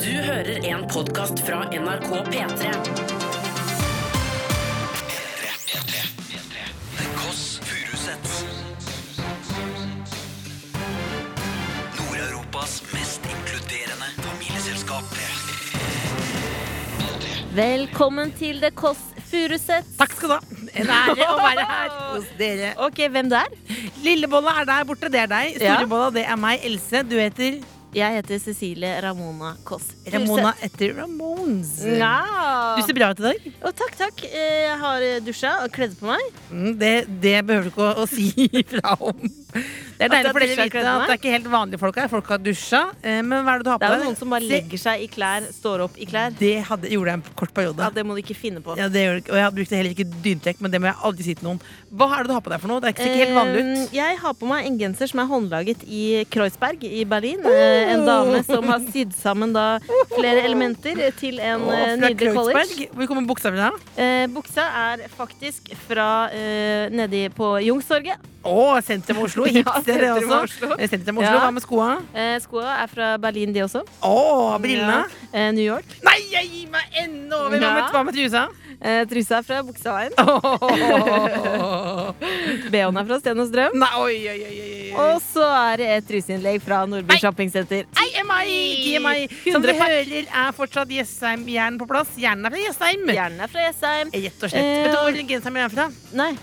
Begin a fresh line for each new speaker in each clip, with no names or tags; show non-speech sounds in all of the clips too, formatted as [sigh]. Du hører en podkast fra NRK P3.
The Koss Furusets Nord-Europas mest inkluderende familieselskap
Velkommen til The Kåss Furuseths.
Takk skal du ha. En ære å være her [laughs] hos dere.
Ok, hvem det er?
Lillebolla er der borte, det er deg.
Ja.
Storebolla, det er meg. Else, du heter
Jeg heter Cecilie Ramona Kåss Furuseth.
Ramona etter Ramones.
Ja.
Du ser bra ut i dag.
Å, takk, takk. Eh, Jeg har dusja og kledd på meg.
Mm, Det, det behøver du ikke å, å si [laughs] ifra om. Det er
At du har dusja
deilig for dere å
og kledd
vite at
deg?
det er ikke helt vanlige folk her. Folk har dusja. eh, Men hva er det du har
Det
på
er
deg?
jo noen som bare
Se,
legger seg i klær, står opp i klær.
Det hadde, gjorde jeg en kort periode.
Ja, Det må du ikke finne på.
Ja, det gjør det ikke. Og jeg brukte heller ikke dyntrekk, men det må jeg aldri si til noen. Hva er det du har på deg for noe? Det er ikke- ser ikke helt vanlig ut.
Eh, Jeg har på meg en genser som er håndlaget i Kreuzberg i Berlin. Eh, En
Oh.
dame som har sydd sammen da flere elementer til en
Å,
eh,
fra
nydelig college.
Kreuzberg. Hvor kommer buksa mi fra?
Eh, Buksa er faktisk fra eh, nedi på Youngstorget.
Å, sentrum av Oslo.
[laughs] Ja,
Hipt sted, det
sentrum av
også.
Oslo.
Eh, Sentrum av Oslo.
Ja.
Hva med skoa?
Eh, Skoa er fra Berlin, de også.
Å, brillene.
Eh, New York.
Nei, jeg gir meg ennå over! Hva med,
Ja.
hva
[laughs]
med trusa?
Eh, trusa er fra Bukseveien.
Åh.
[laughs] BH-en er fra Sten og Strøm.
Nei, oi, oi, oi, oi, oi.
Og så er det et truseinnlegg fra Nordby Shoppingsenter.
TMI! TMI. Som dere hører, er fortsatt Jessheim-hjernen på plass. Hjernen er fra Jessheim.
Hjernen er fra Jessheim.
Rett og slett.
Eh.
Vet du hvor genseren min er fra?
Nei,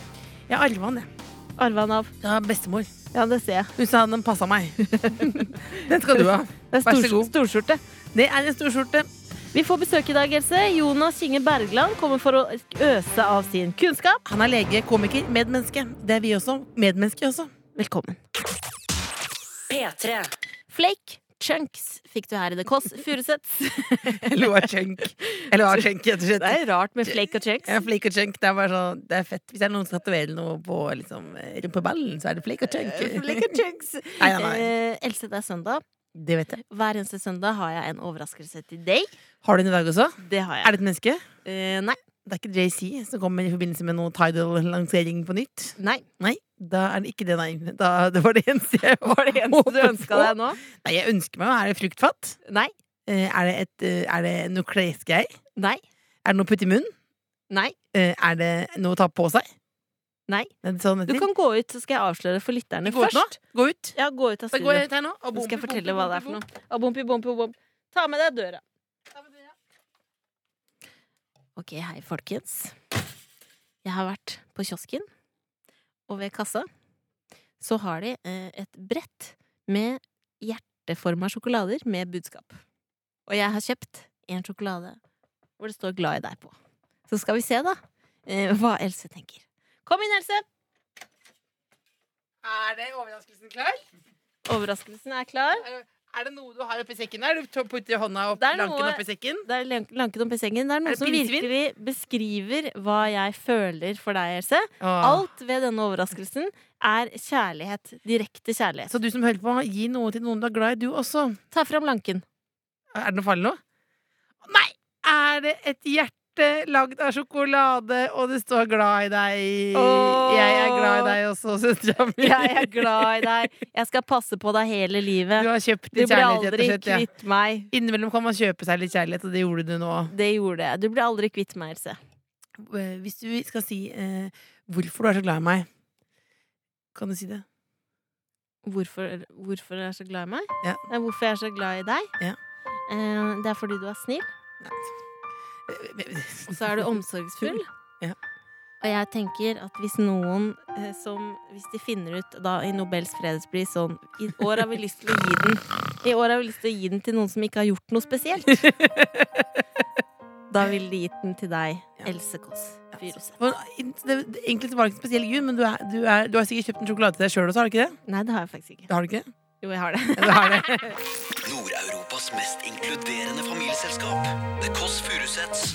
Jeg arva den, jeg.
arva han av.
Ja, bestemor.
Ja, det ser jeg.
Hun sa den passa
[laughs]
meg. den skal du ha.
Det er
Vær så
stor,
god.
storskjorte.
Det er en storskjorte.
Vi får besøk i dag, Else. Jonas Kinge Bergland kommer for å øse av sin kunnskap.
Han er lege, komiker, medmenneske. Det er vi også. Medmennesker også.
Velkommen.
P3.
Flake chunks fikk du her i The Kåss Furuseths.
Eller var chunk. Eller var chunk, rett og slett.
[laughs] Det er rart med flake og chunks.
Ja, flake og chunk. Det er bare sånn, det er fett. Hvis det er noen som tatoverer noe på liksom, rumpeballen, så er det flake og chunk.
Flake Eh, og chunks.
Nei, nei, nei.
Eh, Else, det er søndag.
Det vet jeg.
Hver eneste søndag har jeg en overraskelse til deg.
Har du den i dag også?
Det har jeg.
Er det et menneske?
Eh, nei.
Det er ikke JC som kommer i forbindelse med noe Tidal-lansering på nytt?
nei.
Nei, da er det ikke det, nei. Da, det var det eneste jeg var det
Eneste du ønska deg nå?
Nei, jeg ønsker meg Er det fruktfat?
Nei.
Eh, Er det, et, eh, er det noe klesgreier?
Nei.
Er det noe å putte i munnen?
Nei.
Eh, Er det noe å ta på seg?
Nei.
Er det sånn det
Du
heter?
kan gå ut, så skal jeg avsløre for lytterne
Gå ut nå.
først.
Gå ut.
Ja, gå ut av
Da går
studio.
jeg ut her nå. og
Så skal jeg
bomper,
fortelle
bomper,
hva det er for
bomper,
noe. Abompi, bompi, bom. Ta med deg døra. Ok, hei, folkens. Jeg har vært på kiosken, og ved kassa så har de eh, et brett med hjerteforma sjokolader med budskap. Og jeg har kjøpt en sjokolade hvor det står 'Glad i deg' på. Så skal vi se, da, eh, hva Else tenker. Kom inn, Else!
bomper. Er det overraskelsen klar?
Overraskelsen er klar.
Er det noe du har oppi sekken der? Du putter hånda opp,
Det er
lanken
noe-
oppi sekken?
Det er lank- lanket om pissengen. Det er noe
Er det
som
pinnsvin?
virkelig beskriver hva jeg føler for deg, Else.
Alt.
Alt ved denne overraskelsen er kjærlighet. Direkte kjærlighet.
Så du som hører på, gi noe til noen du er glad i, du også.
Ta fram
[laughs]
lanken.
Er det noe farlig nå? Nei! Er det et hjerte lagd av sjokolade, og det står 'glad i deg'?
Åh.
Jeg er glad i deg også, søstera mi.
Jeg er glad i deg. Jeg skal passe på deg hele
Du
livet.
har kjøpt
Du
litt
blir
kjærlighet, rett
aldri
og slett. Ja.
kvitt meg.
Innimellom kan man kjøpe seg litt kjærlighet, og det gjorde du nå.
Det gjorde jeg. Du blir aldri kvitt meg, Else.
Eh, Hvis du skal si eh, hvorfor du er så glad i meg, kan du si det?
Hvorfor, hvorfor er jeg så glad i meg?
Ja.
Det er hvorfor jeg er så glad i deg.
Ja.
Eh, Det er fordi du er snill, og så er du [laughs] omsorgsfull.
Ja.
Og jeg tenker at hvis noen eh, som Hvis de finner ut da i Nobels fredspris sånn I år har vi lyst til å gi den I år har vi lyst til å gi den til noen som ikke har gjort noe [laughs] spesielt. Da ville de gitt den til deg,
Ja.
Else Kåss Furuseth.
For, det, det, egentlig så var det ikke en spesiell grunn, men du, er, du, er, du har sikkert kjøpt en sjokolade til deg sjøl også, har du ikke det?
Nei, det har jeg faktisk ikke.
Har du ikke det?
Jo, jeg har det.
Ja, du har det.
Nord-Europas mest inkluderende familieselskap The Koss Furusets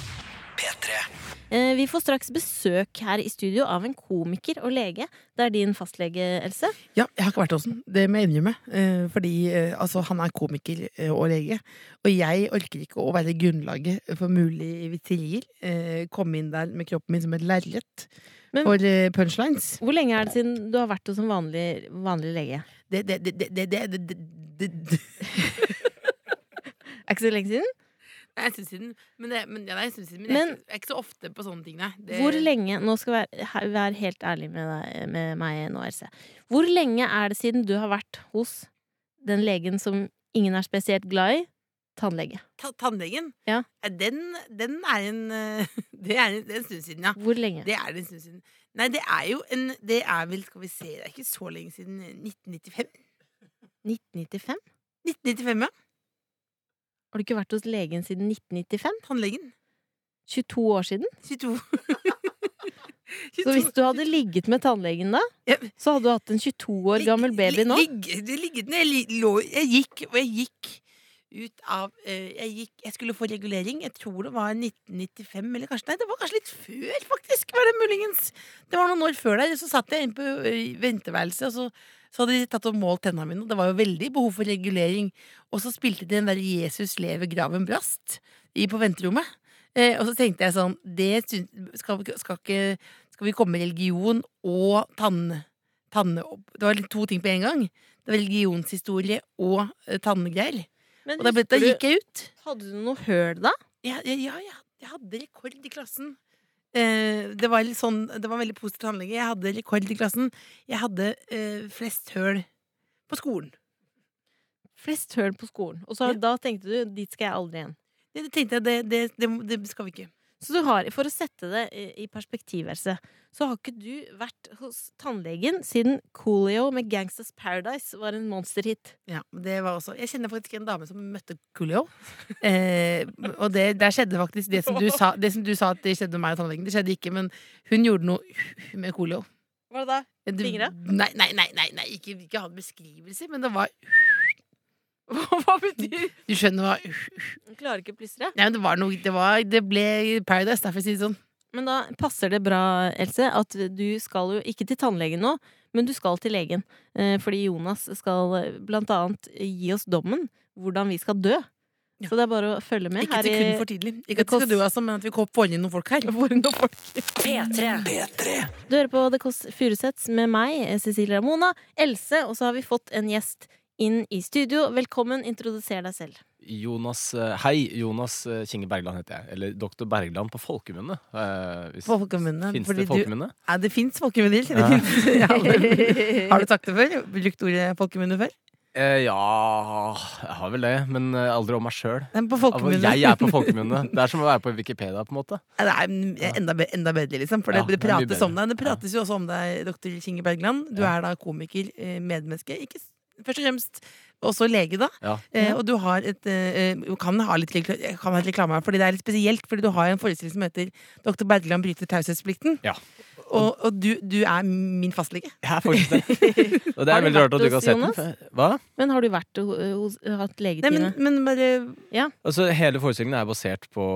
P3
[laughs] Eh, Vi får straks besøk her i studio av en komiker og lege. Det er din fastlege, Else.
Ja, jeg har ikke vært hos den. Det må jeg innrømme. Eh, fordi eh, altså, han er komiker eh, og lege. Og jeg orker ikke å være grunnlaget for mulige vitterier. Eh, komme inn der med kroppen min som et lerret
Men-
for eh, punchlines.
Hvor lenge er det siden du har vært hos en vanlig, vanlig lege?
[laughs] Det, det, det, det, det, det, det, det, det.
Er ikke så lenge siden.
Nei, en stund siden. Men, det, men, ja, det er en stund siden, men, jeg,
Men-
er ikke- jeg er ikke så ofte på sånne ting, nei. Det,
Hvor lenge Nå skal jeg være, he- være helt ærlig med, deg, med meg nå, RC. Hvor lenge er det siden du har vært hos den legen som ingen er spesielt glad i? Tannlege.
Ta, tannlegen,
Ja.
Eh, den, den er en [laughs] eh, Det er en, det er en stund siden, ja.
Hvor lenge?
Det er det en stund siden. Nei, det er jo en Det er vel, skal vi se, det er ikke så lenge siden eh, 1995.
1995?
1995, ja.
Har du ikke vært hos legen siden 1995?
Tannlegen.
22 år siden?
[laughs] 22.
Så hvis du hadde ligget med tannlegen da,
Ja.
så hadde du hatt en 22 år gammel baby nå?
Ligge, det ligget ned. Jeg, li- lå, jeg gikk, og jeg gikk ut av eh, jeg, gikk, jeg skulle få regulering. Jeg tror det var 1995, eller kanskje Nei, det var kanskje litt før, faktisk. Var det muligens. Det var noen år før der. Så satt jeg inne på eh, venteværelset, og så, så hadde de tatt og målt tennene mine. Og det var jo veldig behov for regulering. Og så spilte de den der 'Jesus lever, graven brast' i, på venterommet. Eh, og så tenkte jeg sånn det syn- skal, vi ikke- skal, ikke, skal vi komme med religion og tann, tanneopp... Det var litt to ting på en gang. Det var Religionshistorie og eh, tanngreier.
Men
Og da, ble- da
husker
gikk jeg ut.
du, hadde du noe høl da?
Ja, ja, ja jeg, jeg hadde rekord i klassen. Eh, det, var litt sånn, det var en veldig positiv tannlege. Jeg hadde rekord i klassen. Jeg hadde eh, flest høl på skolen.
Flest høl på skolen. Og så har- da tenkte du dit skal jeg aldri igjen.
Det, det tenkte jeg, det, det, det, det skal vi ikke.
Så du har, for å sette det i i perspektiv, Else, så har ikke du vært hos tannlegen siden Coolio med Gangsters Paradise var en monsterhit.
Ja, det var også Jeg kjenner faktisk en dame som møtte [laughs] Coolio. Eh, og det, der skjedde faktisk det som, du sa, det som du sa at det skjedde med meg og tannlegen. Det skjedde ikke, men hun gjorde noe med Coolio.
Var det da?
Du-
Fingre?
Nei, nei, nei, nei, nei ikke, ikke ha en beskrivelse, men det var
[laughs] Hva betyr [laughs] det?
Du skjønner hva Nei,
Du klarer ikke å plystre.
men det var noe Det, var, det ble Paradise, derfor sier jeg det sånn.
Men da passer det bra, Else, at du skal jo ikke til tannlegen nå, men du skal til legen. Eh, Fordi Jonas skal eh, blant annet gi oss dommen hvordan vi skal dø.
Ja.
Så det er bare å følge med
Ikke et sekund for tidlig. Ikke at vi skal dø, altså, men at vi [laughs] får inn noen folk her.
P3.
P3.
Du hører på The Kåss Furuseths med meg, eh, Cecilie Ramona, Else, og så har vi fått en gjest inn i studio. Velkommen, introduser deg selv.
Jonas, eh, hei, Jonas eh, Kinge Bergland heter jeg. Eller Doktor Bergland på folkemunne. Eh, hvis-
På folkemunne,
Finnes
fordi
det
du-
folkemunne?
Ja, det fins folkemunner. Det finnes- [laughs] ja, det- [laughs] har du sagt det før? Brukt ordet folkemunner før?
Eh, ja, jeg har vel det, men eh, aldri om meg sjøl.
Nei, på
Altså,
folkemunne.
jeg er på folkemunne. Det er som å være på Wikipedia, på en måte.
Ja, Det er mm, enda, be- enda bedre, liksom. For det,
Ja,
det
det er mye
prates
bedre.
om deg. Det prates jo også om deg, dr. Kinge Bergland. Du er da komiker, eh, medmenneske. Ikke s- først og fremst også lege, da.
Ja.
Eh, og du har et eh, eh, du kan ha litt, rekla- jeg kan ha litt reklame her, fordi det er litt spesielt. Fordi du har en forestilling som heter 'Dr. Bergland bryter taushetsplikten'.
Ja.
Og, og du, du er min fastlege.
Jeg er faktisk det.
[laughs]
Og det
Har
er
du
veldig rart at du
vært
ikke har sett den.
hos
for- Hva?
Men har du vært ho- hos, hatt
Nei,
legetime?
men, men bare
Altså, hele forestillingen er basert på,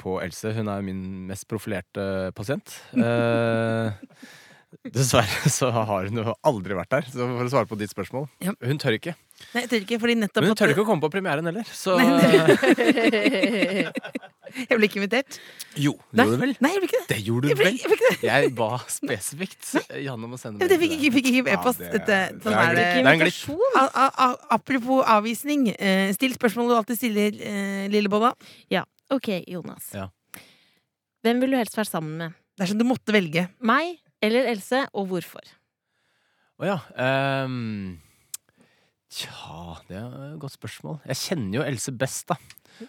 på Else. Hun er min mest profilerte pasient. Eh, [laughs] dessverre så har hun jo aldri vært der, så for å svare på ditt spørsmål.
Ja.
Hun tør ikke.
Nei, jeg tør ikke, fordi nettopp
Men hun
at-
tør ikke å komme på premieren heller, så
Jeg ble ikke invitert.
[laughs] Jo,
Nei.
gjorde du vel?
Nei, jeg ble ikke det.
Det gjorde
Jeg
du
ble,
vel?
jeg ble ikke det.
Jeg ba spesifikt Janne om å sende
Jeg ble- jeg fikk
til
ikke, fikk ikke
deg.
e-post.
Ja, det-
Dette-
det
sånn er
er en
det.
glipp. Det er en glipp.
Ah.
A, a, a, apropos avvisning. Eh, still spørsmål du alltid stiller, eh, Lillebolla.
Ok, Jonas.
Ja.
Hvem ville du helst vært sammen med?
Dersom du måtte velge.
Meg eller Else, og hvorfor?
Å ja. ehm, tja, det er et godt spørsmål. Jeg kjenner jo Else best, da.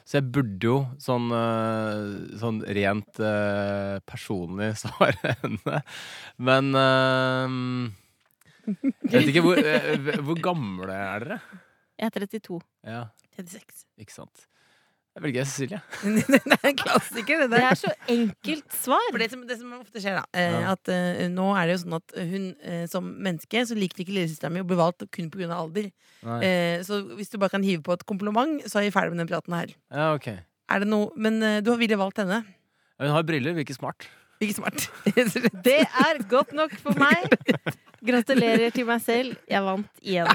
Så jeg burde jo sånn, eh, sånn rent eh, personlig [laughs] svare henne. Men ehm, Jeg vet ikke hvor, eh, hvor gamle er dere?
Jeg er 32.
Ja,
36.
ikke sant. Jeg velger Cecilie.
[laughs] det er en klassiker, det
Det
der.
er så enkelt svar!
For det som, det som ofte skjer, da, eh,
Ja.
at eh, nå er det jo sånn at hun eh, som menneske så liker ikke lillesøstera mi å bli valgt kun pga. alder.
Nei.
Eh, så hvis du bare kan hive på et kompliment, så er vi ferdig med den praten her.
Ja, ok.
Er det noe, men eh, du ville valgt henne.
Hun har briller, virker smart.
Ikke smart. [laughs] er
[laughs] Det er godt nok for meg! Gratulerer til meg selv. Jeg vant igjen.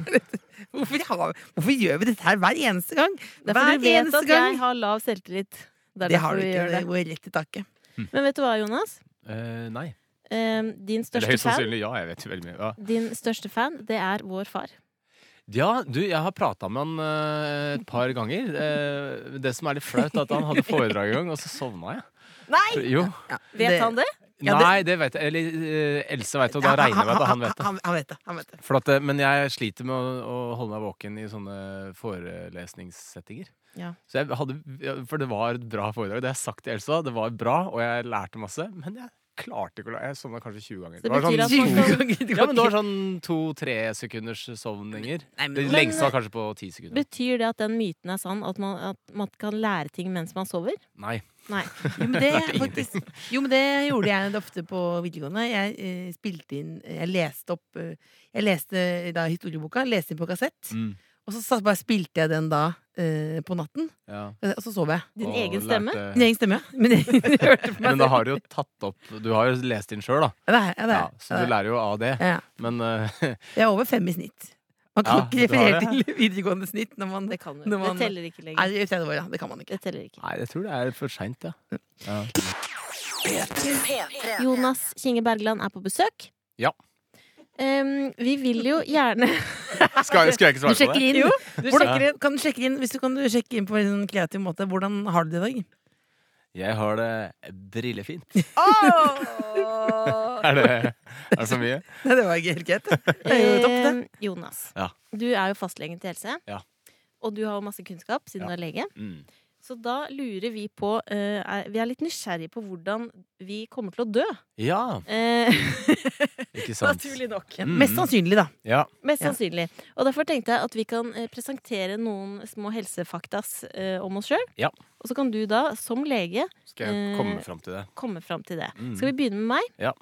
Hvorfor, har- hvorfor gjør vi dette her hver eneste gang?
Det er
hver
fordi du vet
eneste
at
gang.
jeg har lav selvtillit. Det er
Det har
derfor
du
vi
ikke.
gjør
Det
det.
går rett i taket.
Men vet du hva, Jonas?
Eh, nei.
Eh, din
Eller
største fan
ja. Jeg vet jo veldig mye. Ja.
Din største fan, det er vår far.
Ja, du, jeg har prata med han eh, et par ganger. Eh, det som er litt flaut, er at han hadde foredrag en gang, og så sovna jeg.
Nei!
Jo.
Vet han det?
Ja, det-
Nei, det vet jeg. Eller eh, Else veit det, og da regner jeg med at han vet det.
Han, han vet det. Han vet det.
For at, eh, men jeg sliter med å, å holde meg våken i sånne forelesningssettinger.
Ja.
Så jeg hadde, ja, for det var et bra foredrag. Det har jeg sagt til Elsa. Det var bra, og jeg lærte masse. Men jeg klarte ikke å la Jeg sovna kanskje 20 ganger.
Så det
var
betyr at
sånn,
[laughs]
man skal-
ja, men det var sånn to-tre sekunders sovninger.
Nei, men-
Det
Men-
lengste var kanskje på ti sekunder.
Betyr det at den myten er sann, at man, at man kan lære ting mens man sover?
Nei.
Nei.
Jo, men [laughs] det, faktisk, jo, men det gjorde jeg ofte på videregående. Jeg eh, spilte inn Jeg leste opp eh, Jeg leste da historieboka, leste inn på kassett.
Mm.
Og så satt- bare spilte jeg den da eh, på natten,
Ja.
eh, og så sov jeg.
Din
Og
egen stemme?
lærte-
Min egen stemme, ja. Men [laughs] jeg hørte på meg
Men da har du jo tatt opp Du har jo lest inn sjøl, da.
selv. Ja, det er, ja, det
Ja,
er.
så du lærer jo av det.
Ja.
Men eh, [laughs]
Jeg er over fem i snitt. Man kan
Ja,
ikke
du har
referere til [laughs] videregående snitt når man
Det kan
[laughs]
du.
Når man-
Det teller ikke
er
lenger.
i tredje år. Ja. Det kan man ikke.
Det teller ikke.
Nei, jeg tror det er for seint, ja. ja.
Jonas Kinge Bergland er på besøk.
Ja.
Em, vi vil jo gjerne
Skal, skal jeg ikke
Du
svare på
sjekker
det?
inn?
Jo,
Du
Hvordan,
sjekker-
kan du sjekke inn, hvis du kan du sjekke inn på en sånn kreativ måte, hvordan har du det i dag?
Jeg har det brillefint.
Åh!
[laughs] Er det, er det for mye?
Nei, det var ikke helt greit. Det er jo topp, det.
Em, Ehm, Jonas,
Ja.
du er jo fastlegen til Else.
Ja.
Og du har jo masse kunnskap siden
Ja.
du er lege.
Mm.
Så da lurer vi på eh, er, Vi er litt nysgjerrige på hvordan vi kommer til å dø.
Ja,
Eh,
ikke sant.
[laughs] naturlig nok.
Mm.
Mest sannsynlig, da.
Ja.
Mest
Ja.
sannsynlig. Og derfor tenkte jeg at vi kan eh, presentere noen små helsefaktas eh, om oss sjøl.
Ja.
Og så kan du da, som lege,
Skal jeg komme fram til det?
komme fram til det. Eh,
Mm.
Skal vi begynne med meg?
Ja.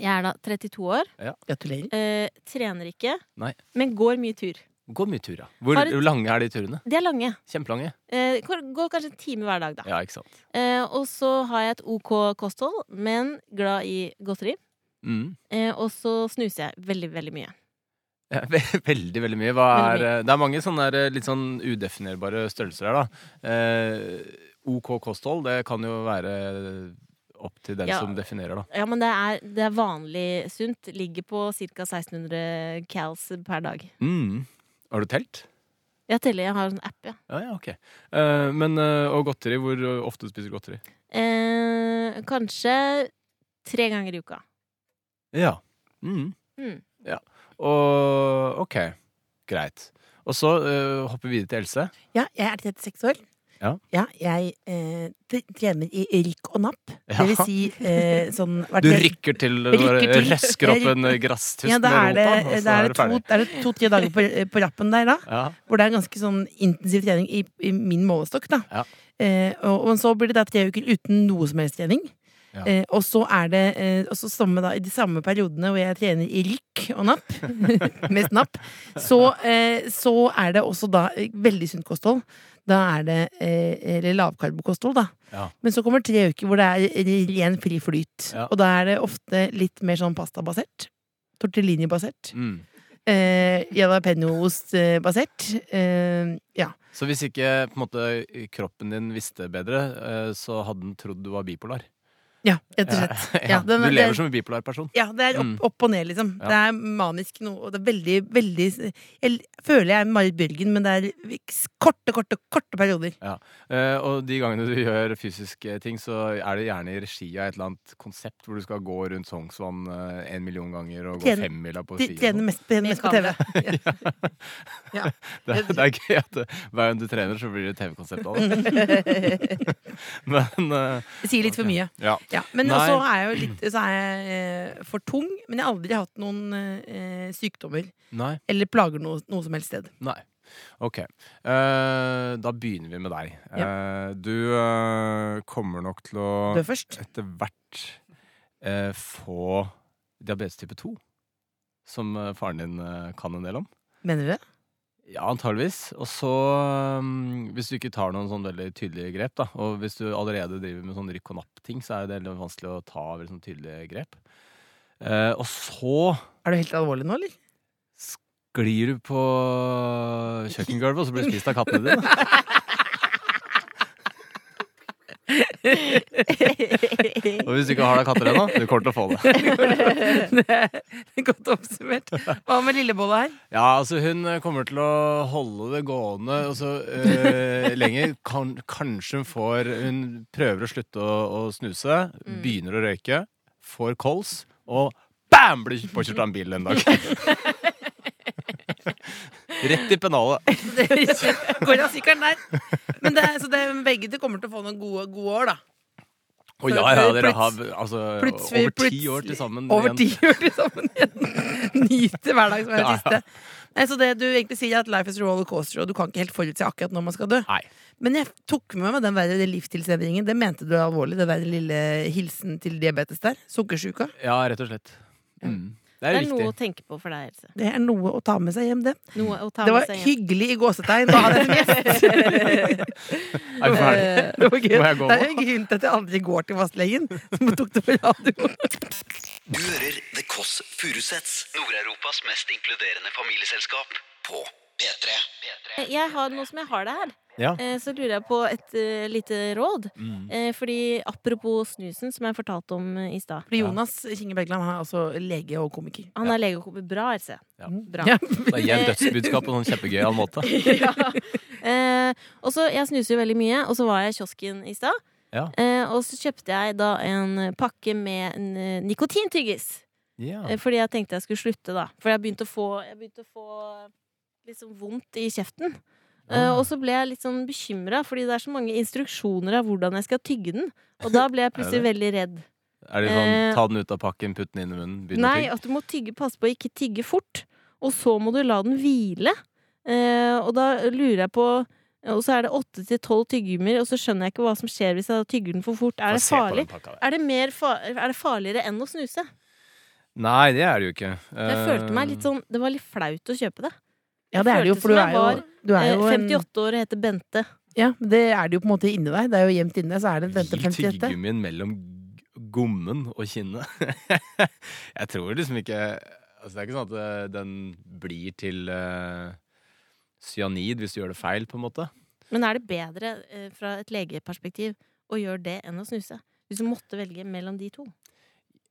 Jeg er da 32 år,
Gratulerer.
eh, trener ikke,
Nei.
men går mye tur.
Gå mye tur, ja. Hvor
Har et-
hvor lange er de turene?
De er lange.
Kjempelange.
Eh, går går kanskje en time hver dag, da.
Ja, ikke sant.
Eh, og så har jeg et OK kosthold, men glad i godteri.
Mm.
Eh, og så snuser jeg veldig, veldig mye.
Ja, ve- Veldig, veldig mye. Hva
Veldig
er, eh, det er mange sånne der, eh, litt sånn udefinerbare størrelser her, da. Eh, OK kosthold, det kan jo være opp til den
Ja.
som definerer, da.
Ja, men det er, det er vanlig sunt. Ligger på ca. 1600 cals per dag.
Mm. Har du telt?
Jeg teller, jeg har en app, ja.
Ja, ja, ok. Eh, men, eh, og godteri, hvor ofte spiser du godteri?
Eh, kanskje tre ganger i uka.
Ja. Mm.
[laughs]
Mm.
Og ok, greit. Og så eh, hopper vi videre til Else.
Ja, jeg er 36 år.
Ja.
jeg eh, t- trener i rykk og napp.
Ja.
Det vil si eh, sånn hvert
Du
tredje-
rykker til,
Rykker til.
røsker opp
Jeg
en grasstust
Ja, da er
med
det,
rota, og så
da
er
er
du
det to-
ferdig.
da er det to-tre dager på, eh, på rappen der, da.
Ja.
Hvor det er ganske sånn intensiv trening i, i min målestokk, da.
Ja.
Eh, og, og så blir det da tre uker uten noe som helst trening.
Ja.
Eh, og så er det eh, og så samme da, i de samme periodene hvor jeg trener i rykk og napp, [laughs] mest napp, så, eh, så er det også da eh, veldig sunt kosthold. Da er det eh, eller lavkarbokosthold, da.
Ja.
Men så kommer tre uker hvor det er ren fri flyt.
Ja.
Og da er det ofte litt mer sånn pastabasert. Tortellini-basert.
Mm.
Eh, Jalapeño-ost-basert. Eh, ja.
Så hvis ikke på en måte, kroppen din visste bedre, eh, så hadde den trodd du var bipolar? [laughs]
Ja, rett og slett.
Ja,
Ja, den-
du
den-
lever som en bipolar person.
Ja, det er opp,
Mm.
opp og ned, liksom.
Ja.
Det er manisk noe, og det er veldig, veldig Jeg føler jeg er Marit Bjørgen, men det er korte, korte, korte perioder.
Eh, og de gangene du gjør fysiske ting, så er det gjerne i regi av et eller annet konsept hvor du skal gå rundt Sognsvann eh, en million ganger og gå
Tren-
femmila på
De
ski. og
trener
sånn.
mest, trener mest på TV.
kamera.
[laughs] Det, er- det er gøy at det, hver gang du trener, så blir det TV-konsept av det.
[laughs]
Men eh,
Jeg sier litt for
Ok.
mye.
ja.
Ja, men
Nei.
også er jeg jo litt Så er jeg eh, for tung, men jeg har aldri hatt noen eh, sykdommer
Nei.
eller plager noe, noe som helst sted.
Nei. Ok. Eh, da begynner vi med deg. Eh, du eh, kommer nok til å
Dør først.
etter hvert eh, få diabetes type 2, som eh, faren din eh, kan en del om.
Mener du det?
Ja, antageligvis. Og så, um, hvis du ikke tar noen sånn veldig tydelige grep, da, og hvis du allerede driver med sånn rykk og napp-ting, så er det veldig vanskelig å ta veldig sånn tydelige grep. Eh, og så
Er du helt alvorlig nå, eller?
glir du på kjøkkengulvet, og så blir du spist av kattene dine. Og hvis du ikke har deg katter ennå, du kommer til å få det.
Det er Godt oppsummert. Hva med lillebolla her?
Ja, altså hun kommer til å holde det gående og så, eh, lenger. Kan, kanskje hun får Hun prøver å slutte å, å snuse,
Mm.
begynner å røyke, får kols, og bam! Blir påkjørt av en bil en dag. Rett i pennalet.
Går av sykkelen der. Men det er, så det er begge de kommer til å få noen gode, gode år, da.
Og ja, ja, dere har altså,
Plutselig-
over ti år
plutselig-
til sammen.
Over
igjen.
ti år til sammen igjen. Nyte hverdag som er det
Ja, ja.
siste. Nei, så det du egentlig sier, er at life is a roller coaster, og du kan ikke helt forutse akkurat når man skal dø.
Nei.
Men jeg tok med meg den verre livstilsendringen. Det mente du er alvorlig, den der lille hilsen til diabetes der. Sukkersyka.
Ja, rett og slett. Mm. Det
Det
er
er noe
viktig.
å tenke på for deg, Else.
Det er noe å ta med seg hjem, det.
Noe å ta
Det
med
var
seg hjem.
hyggelig i gåsetegn. å ha den gjesten.
Er vi ferdige?
[laughs] Det var gøy.
Må jeg gå
Det er jo en grunn til at jeg aldri går til fastlegen. Som tok det på [laughs] radio.
Du hører The Kåss Furuseths, Nord-Europas mest inkluderende familieselskap, på P3.
Eh, Jeg har noe som jeg har det her.
Ja.
Eh, Så lurer jeg på et eh, lite råd.
Mm.
Eh, Fordi apropos snusen, som jeg fortalte om eh, i stad.
Fordi Jonas Kinge Bergland han er altså lege og komiker.
Han er lege og kommer bra, Else.
Ja.
Bra.
Ja.
Da gir jeg en dødsbudskap på en sånn kjempegøyal måte.
ja. eh, og så, Jeg snuser jo veldig mye, og så var jeg i kiosken i stad.
Ja.
Eh, og så kjøpte jeg da en pakke med en eh, nikotintyggis.
Ja.
Eh, fordi jeg tenkte jeg skulle slutte, da. For jeg begynte å få, jeg begynte å få liksom vondt i kjeften. Eh,
Ah.
og så ble jeg litt sånn bekymra, fordi det er så mange instruksjoner av hvordan jeg skal tygge den. Og da
[laughs]
ble jeg plutselig veldig redd.
Er det sånn
Eh,
ta den ut av pakken, putt den inn i munnen, begynn å
Nei,
tygge?
at du må tygge, passe på å ikke tygge fort. Og så må du la den hvile. Eh, og da lurer jeg på Og så er det åtte til tolv tyggegummier, og så skjønner jeg ikke hva som skjer hvis jeg tygger den for fort. Er det
Få se på
farlig?
den pakka der.
Er det, mer fa er det farligere enn å snuse?
Nei, det er det jo ikke.
Jeg
Eh,
følte meg litt sånn Det var litt flaut å kjøpe det.
Ja, det er det jo,
Føltes
for du
som
er
jeg
jo,
var,
du er
Eh,
jo en
58 år og heter Bente.
Ja, men det er det jo på en måte inni deg. Det er jo gjemt inni deg, så er det dette
Eh, Gi
58.
tyggegummien mellom g- gommen og kinnet. [laughs] jeg tror liksom ikke Altså, det er ikke sånn at eh, den blir til eh, cyanid hvis du gjør det feil, på en måte.
Men er det bedre eh, fra et legeperspektiv å gjøre det enn å snuse? Hvis du måtte velge mellom de to.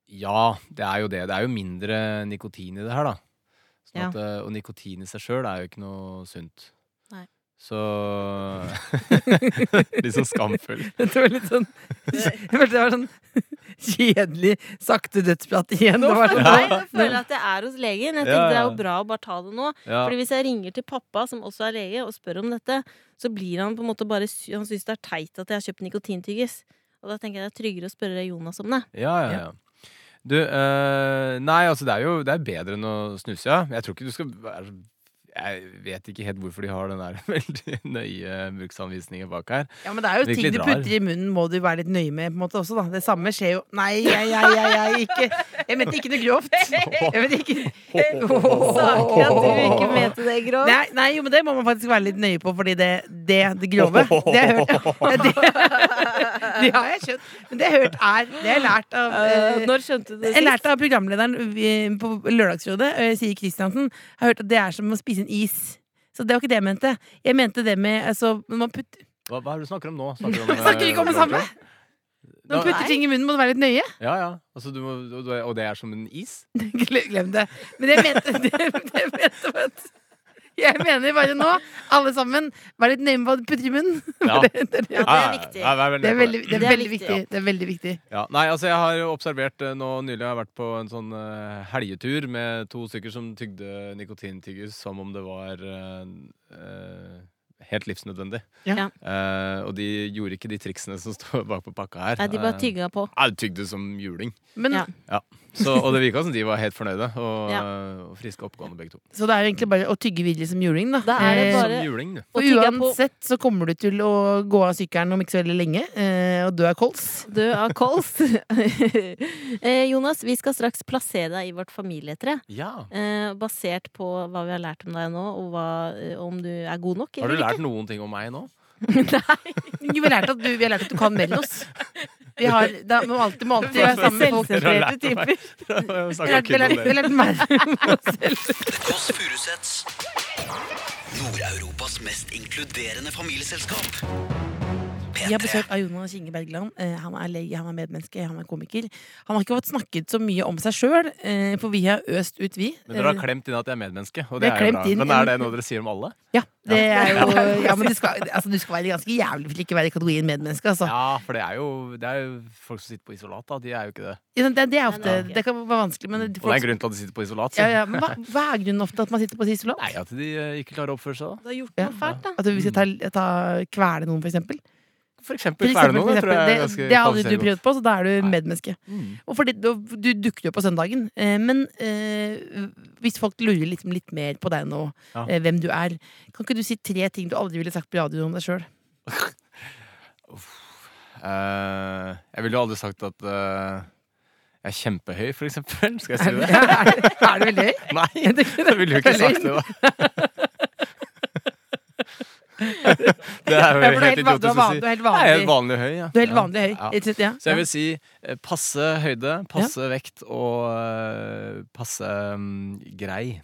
Ja, det er jo det. Det er jo mindre nikotin i det her, da. Sånn
Ja.
at, eh, og nikotin i seg sjøl er jo ikke noe sunt.
Nei.
Så [laughs] Litt sånn skamfull.
[laughs] Det var litt sånn [laughs] Jeg følte det var sånn [laughs] kjedelig, sakte dødsprat igjen. Det var
For
sånn,
meg så føler jeg at jeg er hos legen. Jeg tenkte
Ja, ja.
det er jo bra å bare ta det nå.
Ja.
Fordi hvis jeg ringer til pappa, som også er lege, og spør om dette, så blir han på en måte bare sy- Han syns det er teit at jeg har kjøpt nikotintyggis. Og da tenker jeg det er tryggere å spørre Jonas om det.
Ja, ja, ja. Du, eh, nei, altså det er jo det er bedre enn å snuse, ja. Jeg tror ikke du skal være Jeg vet ikke helt hvorfor de har den der [laughs] veldig nøye bruksanvisningen bak her.
ja, men det er jo ting
Virkelig
du
drar.
putter i munnen, må du være litt nøye med på en måte også, da. Det samme skjer jo Nei, jeg, jeg, jeg, jeg, ikke Jeg mente ikke noe grovt. Jeg mente ikke
Saker at du ikke mente det, Grå.
Nei, nei, jo, men det må man faktisk være litt nøye på, fordi det, det, det grove Det har jeg hørt. Det,
[laughs]
det har jeg skjønt. Men det jeg har hørt, er Det har jeg lært av eh,
når skjønte du det
Jeg lærte av programlederen vi- på Lørdagsrådet, eh, Siri Kristiansen, har hørt at det er som å spise en is. Så det var ikke det jeg mente. Jeg mente det med altså, når man, putter-
Hva, hva er det du snakker om nå? Snakker du om, eh,
Jeg snakker ikke om det samme. når man
Da-
putter ting i munnen, må du være litt nøye. [laughs]
Ja, ja. Altså, du må, og du er- og det er som en is?
Gle- Glem det. Men jeg mente [laughs] det, det mente jeg at- Jeg mener bare nå, alle sammen, vær litt nøye med hva du putter i munnen. [laughs]
Ja.
Det, det, det,
Ja, det er viktig.
Ja, vær
det er
veldig-
veldig, det er
Det er
veldig
viktig.
viktig. Det er veldig viktig.
Ja, nei, altså jeg har jo observert eh, nå nylig har jeg vært på en sånn eh, helgetur med to stykker som tygde nikotintyggis som om det var eh, eh, helt livsnødvendig.
Ja.
Ja.
Eh, og de gjorde ikke de triksene som står [laughs] bak på pakka her.
Nei, de bare
Eh,
tygga på.
Nei, de tygde som juling.
Men,
Ja.
Så, og det virka som de var helt fornøyde
[laughs]
og,
Ja.
eh, og friske og oppegående begge to.
Så det er jo egentlig bare å tygge videre som juling, da.
Da er det
Eh,
bare-
Som juling, du.
Og
Og
tygge på
uansett så kommer du til å gå av sykkelen om ikke så veldig lenge eh, og dø av kols.
død av kols. [laughs] eh, Jonas, vi skal straks plassere deg i vårt familietre.
Ja.
Eh, basert på hva vi har lært om deg nå, og hva, eh, om du er god nok
Har
eller
du
ikke.
lært noen ting om meg nå? [laughs]
Vi har lært at du, vi har lært at du kan melde oss. Vi har, da, må alltid, må alltid være sammen med folk.
Dere har lært
Selvsentrerte
meg.
typer.
Dere
Vi
har
har
snakket
lært, vi har lært, vi
kun om dere.
har lært mer om oss selv.
The Kåss Furuseths, Nord-Europas mest inkluderende familieselskap,
Vi har
P3.
besøk av Jonas Inge Bergland. Eh, Han er lege, han er medmenneske, han er komiker. Han har ikke fått snakket så mye om seg sjøl, eh, for vi har øst ut, vi.
Men dere har
Eh,
klemt inn at jeg er medmenneske, og
Vi
det
har
er jo
klemt
bra.
inn
Men er det
en-
noe dere sier om alle?
Ja, det er jo ja, men du, skal, altså, du skal være ganske jævlig for ikke å være i kategorien medmenneske, altså.
Ja, for det er jo, det er jo folk som sitter på isolat, da. De er jo ikke det.
Ja, Det, det er ofte
Nei, nei.
Det kan være vanskelig, men
Og det
folk-
er en grunn til at de sitter på isolat. Så.
ja, ja, men hva, hva er grunnen ofte at man sitter på et isolat?
Nei, at de eh, ikke klarer å oppføre seg, da.
Du har gjort
Ja. Altså,
noe fælt, da.
At vi skal ta, ta kvele noen, for eksempel?
For
For
eksempel,
eksempel,
kveler noen.
for
Det tror jeg er
eksempel.
ganske
det, det hadde du
kvalifiserende.
prøvd på, så da er du
Nei.
medmenneske.
Mm.
Og fordi du, du dukker jo på søndagen. Eh, men eh, hvis folk lurer liksom litt mer på deg nå,
Ja.
eh, hvem du er, kan ikke du si tre ting du aldri ville sagt på radio om deg sjøl?
Eh, jeg ville jo aldri sagt at eh, jeg er kjempehøy, for eksempel. Skal jeg si
Er,
det?
er, er du veldig høy?
[laughs] Nei, jeg ville jo ikke sagt
[laughs]
det, da. Det er
Ja,
jo
for du er
helt
helt van- du er
idiotisk å
van-
si.
du er helt
Jeg er
vanlig-
helt vanlig høy, ja.
Du er helt
Ja,
vanlig høy.
ja.
Rett og slett, Ja.
Så jeg vil si eh, passe høyde, passe vekt og eh, passe mm, grei.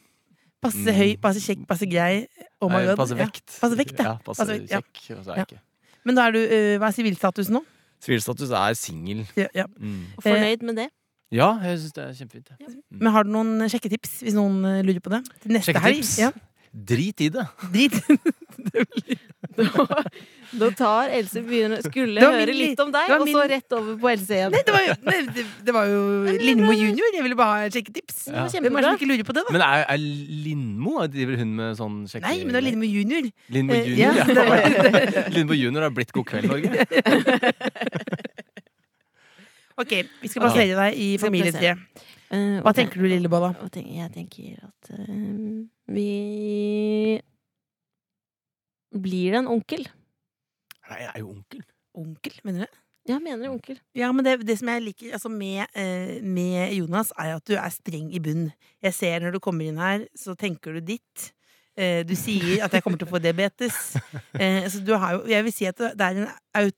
Passe høy, passe kjekk, passe grei. Oh my
Nei,
god.
passe
Ja.
vekt.
Passe vekt, ja.
ja. Passe
Passe vekt, ja.
kjekk. Og så er jeg ikke.
Men da er du, eh, hva er sivilstatusen nå?
Sivilstatus er singel.
Ja, ja.
Mm.
Og fornøyd med det.
Ja, jeg syns det er kjempefint. Ja.
Men har du noen sjekketips, hvis noen eh, lurer på det? Til neste helg?
Sjekketips.
Ja.
Drit i det.
Drit.
Da tar Else begynner, skulle
Det var
høre
min-
litt om deg,
det var
og så
min-
rett over på Else igjen.
[laughs] Nei, det var jo, nei, det, det var jo Lindmo junior. Jeg ville bare ha sjekketips.
Ja.
Hvem er det som ikke lurer på det, da?
Men er, er Lindmo Driver hun med sånn sjekke...
Nei, men det var Lindmo junior.
Lindmo
Eh,
junior,
ja,
ja.
det
[laughs] Lindmo junior har blitt God kveld,
[laughs]
Norge.
Ok, vi skal plassere deg i
Skal
familietreet.
Eh,
Hva
og
tenker du, Lillebolla?
Og tenk, jeg tenker at eh, vi Blir det en onkel?
Nei, jeg er jo onkel.
Onkel, mener du?
Ja, mener du onkel?
Ja, men det, det som jeg liker altså med, eh, med Jonas, er at du er streng i bunn. Jeg ser når du kommer inn her, så tenker du ditt. Eh, Du sier at jeg kommer [laughs] til å få diabetes. Eh, Så du har jo Jeg vil si at det er en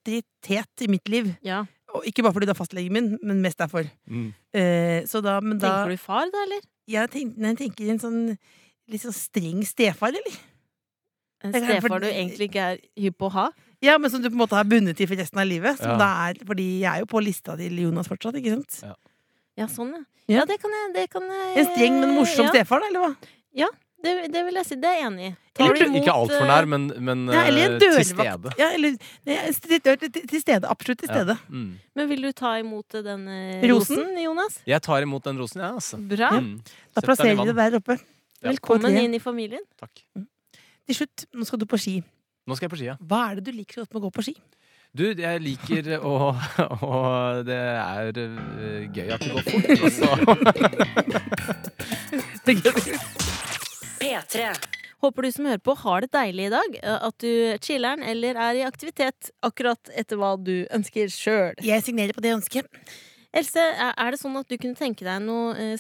autoritet i mitt liv.
Ja.
Og ikke bare fordi du er fastlegen min, men mest derfor.
Mm.
Eh, Så da, men da
Tenker du far, da, eller?
jeg tenker, nei, jeg tenker en sånn litt sånn streng stefar, eller?
En
Jeg kan- for-
stefar du egentlig ikke er hypp på å ha?
Ja, men som du på en måte har bundet til for resten av livet. Som
Ja.
da er, fordi jeg er jo på lista til Jonas fortsatt, ikke sant?
Ja, sånn, ja.
Ja.
Ja, det kan jeg, det kan jeg
En streng, men morsom
ja,
stefar, da, eller hva?
Det, det vil jeg si. Det er jeg enig i. Tar
Eller,
du imot,
ikke altfor
eh,
nær, men, men
Ja, eller
eh,
en
til
dørvakt.
stede.
Ja, eller, nei, til, til, til, til stede. Absolutt til
Ja.
stede.
Mm.
eh, Men vil du ta imot eh, den eh,
Rosen?
rosen, Jonas?
Jeg tar imot den rosen, jeg, ja, altså.
Bra.
Mm.
Da
Sett den i
plasserer vi
vann.
det der oppe.
Ja.
På
Velkommen
tre.
inn i familien.
Takk.
Til slutt, nå skal du på ski.
Nå skal jeg på skia.
Hva er det du liker så godt med å gå på [laughs] ski?
Du, jeg liker å [laughs] Og det er eh, gøy at det går fort. Altså.
P3.
Håper du som hører på har det deilig i dag. eh, At du chiller'n eller er i aktivitet akkurat etter hva du ønsker sjøl.
Jeg signerer på det jeg ønsker.
Else, er er det sånn at du kunne tenke deg noe eh,